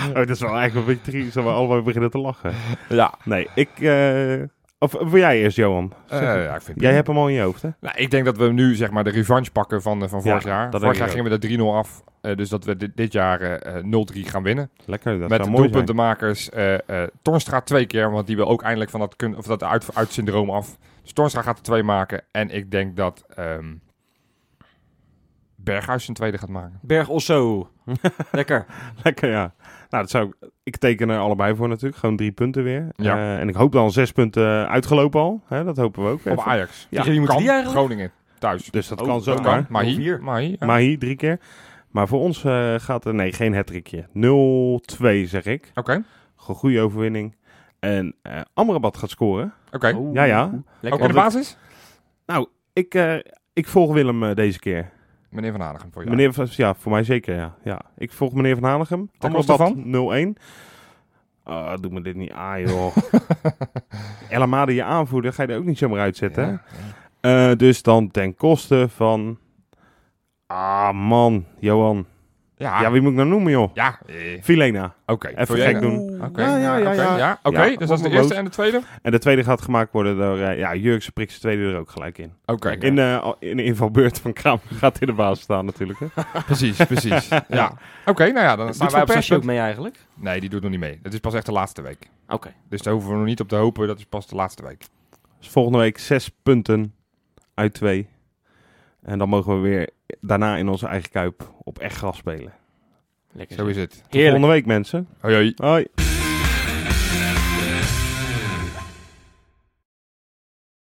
S2: oh, dat is wel eigenlijk een beetje triest dat we allemaal beginnen te lachen.
S3: Ja.
S2: Nee, ik... eh, of eh, wil jij eerst, Johan?
S3: Eh,
S2: Zeg-
S3: ja, ik vind
S2: Jij hebt hem al in je hoofd, hè?
S3: Nou, ik denk dat we nu zeg maar de revanche pakken van, eh, van vorig
S2: Ja, dat
S3: jaar. Vorig
S2: denk
S3: jaar
S2: ik
S3: gingen we er 3-0 af. eh, dus dat we dit, dit jaar eh, eh, 0-3 gaan winnen.
S2: Lekker, dat
S3: Met
S2: zou
S3: de
S2: mooi zijn.
S3: doelpuntenmakers eh, eh, Torstra twee keer. Want die wil ook eindelijk van dat, kun, of dat uit, uitsyndroom af. Dus Torstra gaat er twee maken. En ik denk dat ehm Berghuis zijn tweede gaat maken.
S1: Berg Osso. Lekker.
S2: Lekker, ja. Nou, dat zou ik... Ik teken er allebei voor natuurlijk. Gewoon drie punten weer.
S3: Ja.
S2: Eh, en ik hoop dan zes punten uitgelopen al. Hè, dat hopen we ook.
S3: Op
S2: Even.
S3: Ajax.
S2: Ja,
S1: Tegen wie moeten
S3: Kan
S1: die eigenlijk?
S3: Groningen thuis.
S2: Dus dat
S1: Oh,
S2: kan
S1: dat
S2: zomaar.
S3: Dat
S1: maar.
S3: kan. Maar hier.
S1: Vier.
S3: Maar hier.
S2: Maar hier drie keer. Maar voor ons eh, gaat er... Nee, geen hattrickje. 0-2 zeg ik.
S3: Oké.
S2: Go- Goede overwinning. En eh Amrabat gaat scoren.
S3: Oké.
S1: Oeh.
S2: Ja, ja.
S3: Ook
S1: Lekker.
S3: in de
S2: Oh, Want
S3: basis?
S2: Ik, eh, ik volg Willem eh, deze keer.
S3: Meneer Van Hanegem voor jou.
S2: Meneer van, ja, voor mij zeker, ja. ja. Ik volg meneer Van Hanegem.
S3: Ten koste
S2: Amrabat 0-1. Ah, doe me dit niet aan, joh. El Amadi, je aanvoerder, ga je er ook niet zomaar uitzetten. hè?
S3: Ja.
S2: Eh, dus dan ten koste van... Ah, man. Johan.
S3: Ja.
S2: Ja,
S3: Ja.
S2: wie moet ik nou noemen, joh?
S3: ja. eh,
S2: Filena.
S3: Oké.
S2: Even
S3: Vul jij
S2: gek
S3: nou-
S2: doen.
S1: Oeh.
S3: Oké,
S2: Ja, ja,
S3: ja,
S2: ja,
S3: oké,
S2: ja.
S3: ja. Oké,
S2: Ja,
S3: dus dat is de
S2: Wonderboot.
S3: eerste en de tweede? Oké.
S2: En de tweede gaat gemaakt worden door eh, ja, Jurkse Prikse tweede er ook gelijk in. In, eh, al- in de invalbeurt van Kraam gaat in de baas staan natuurlijk. Hè?
S3: Precies, precies. Ja. Oké, nou ja, dan staan
S1: Doet
S3: wij
S1: Van
S3: op zes
S1: Persie ook
S3: punten.
S1: mee eigenlijk?
S3: Nee, die doet nog niet mee. Dat is pas echt de laatste week.
S1: Oké.
S3: Dus daar hoeven we nog niet op te hopen. Dat is pas de laatste week.
S2: Dus volgende week zes punten uit twee. En dan mogen we weer daarna in onze eigen kuip op echt gras spelen.
S1: Lekker.
S3: Zo is het.
S2: Tot
S1: Heerlijk.
S2: volgende week mensen.
S3: Hoi, hoi.
S2: Hoi.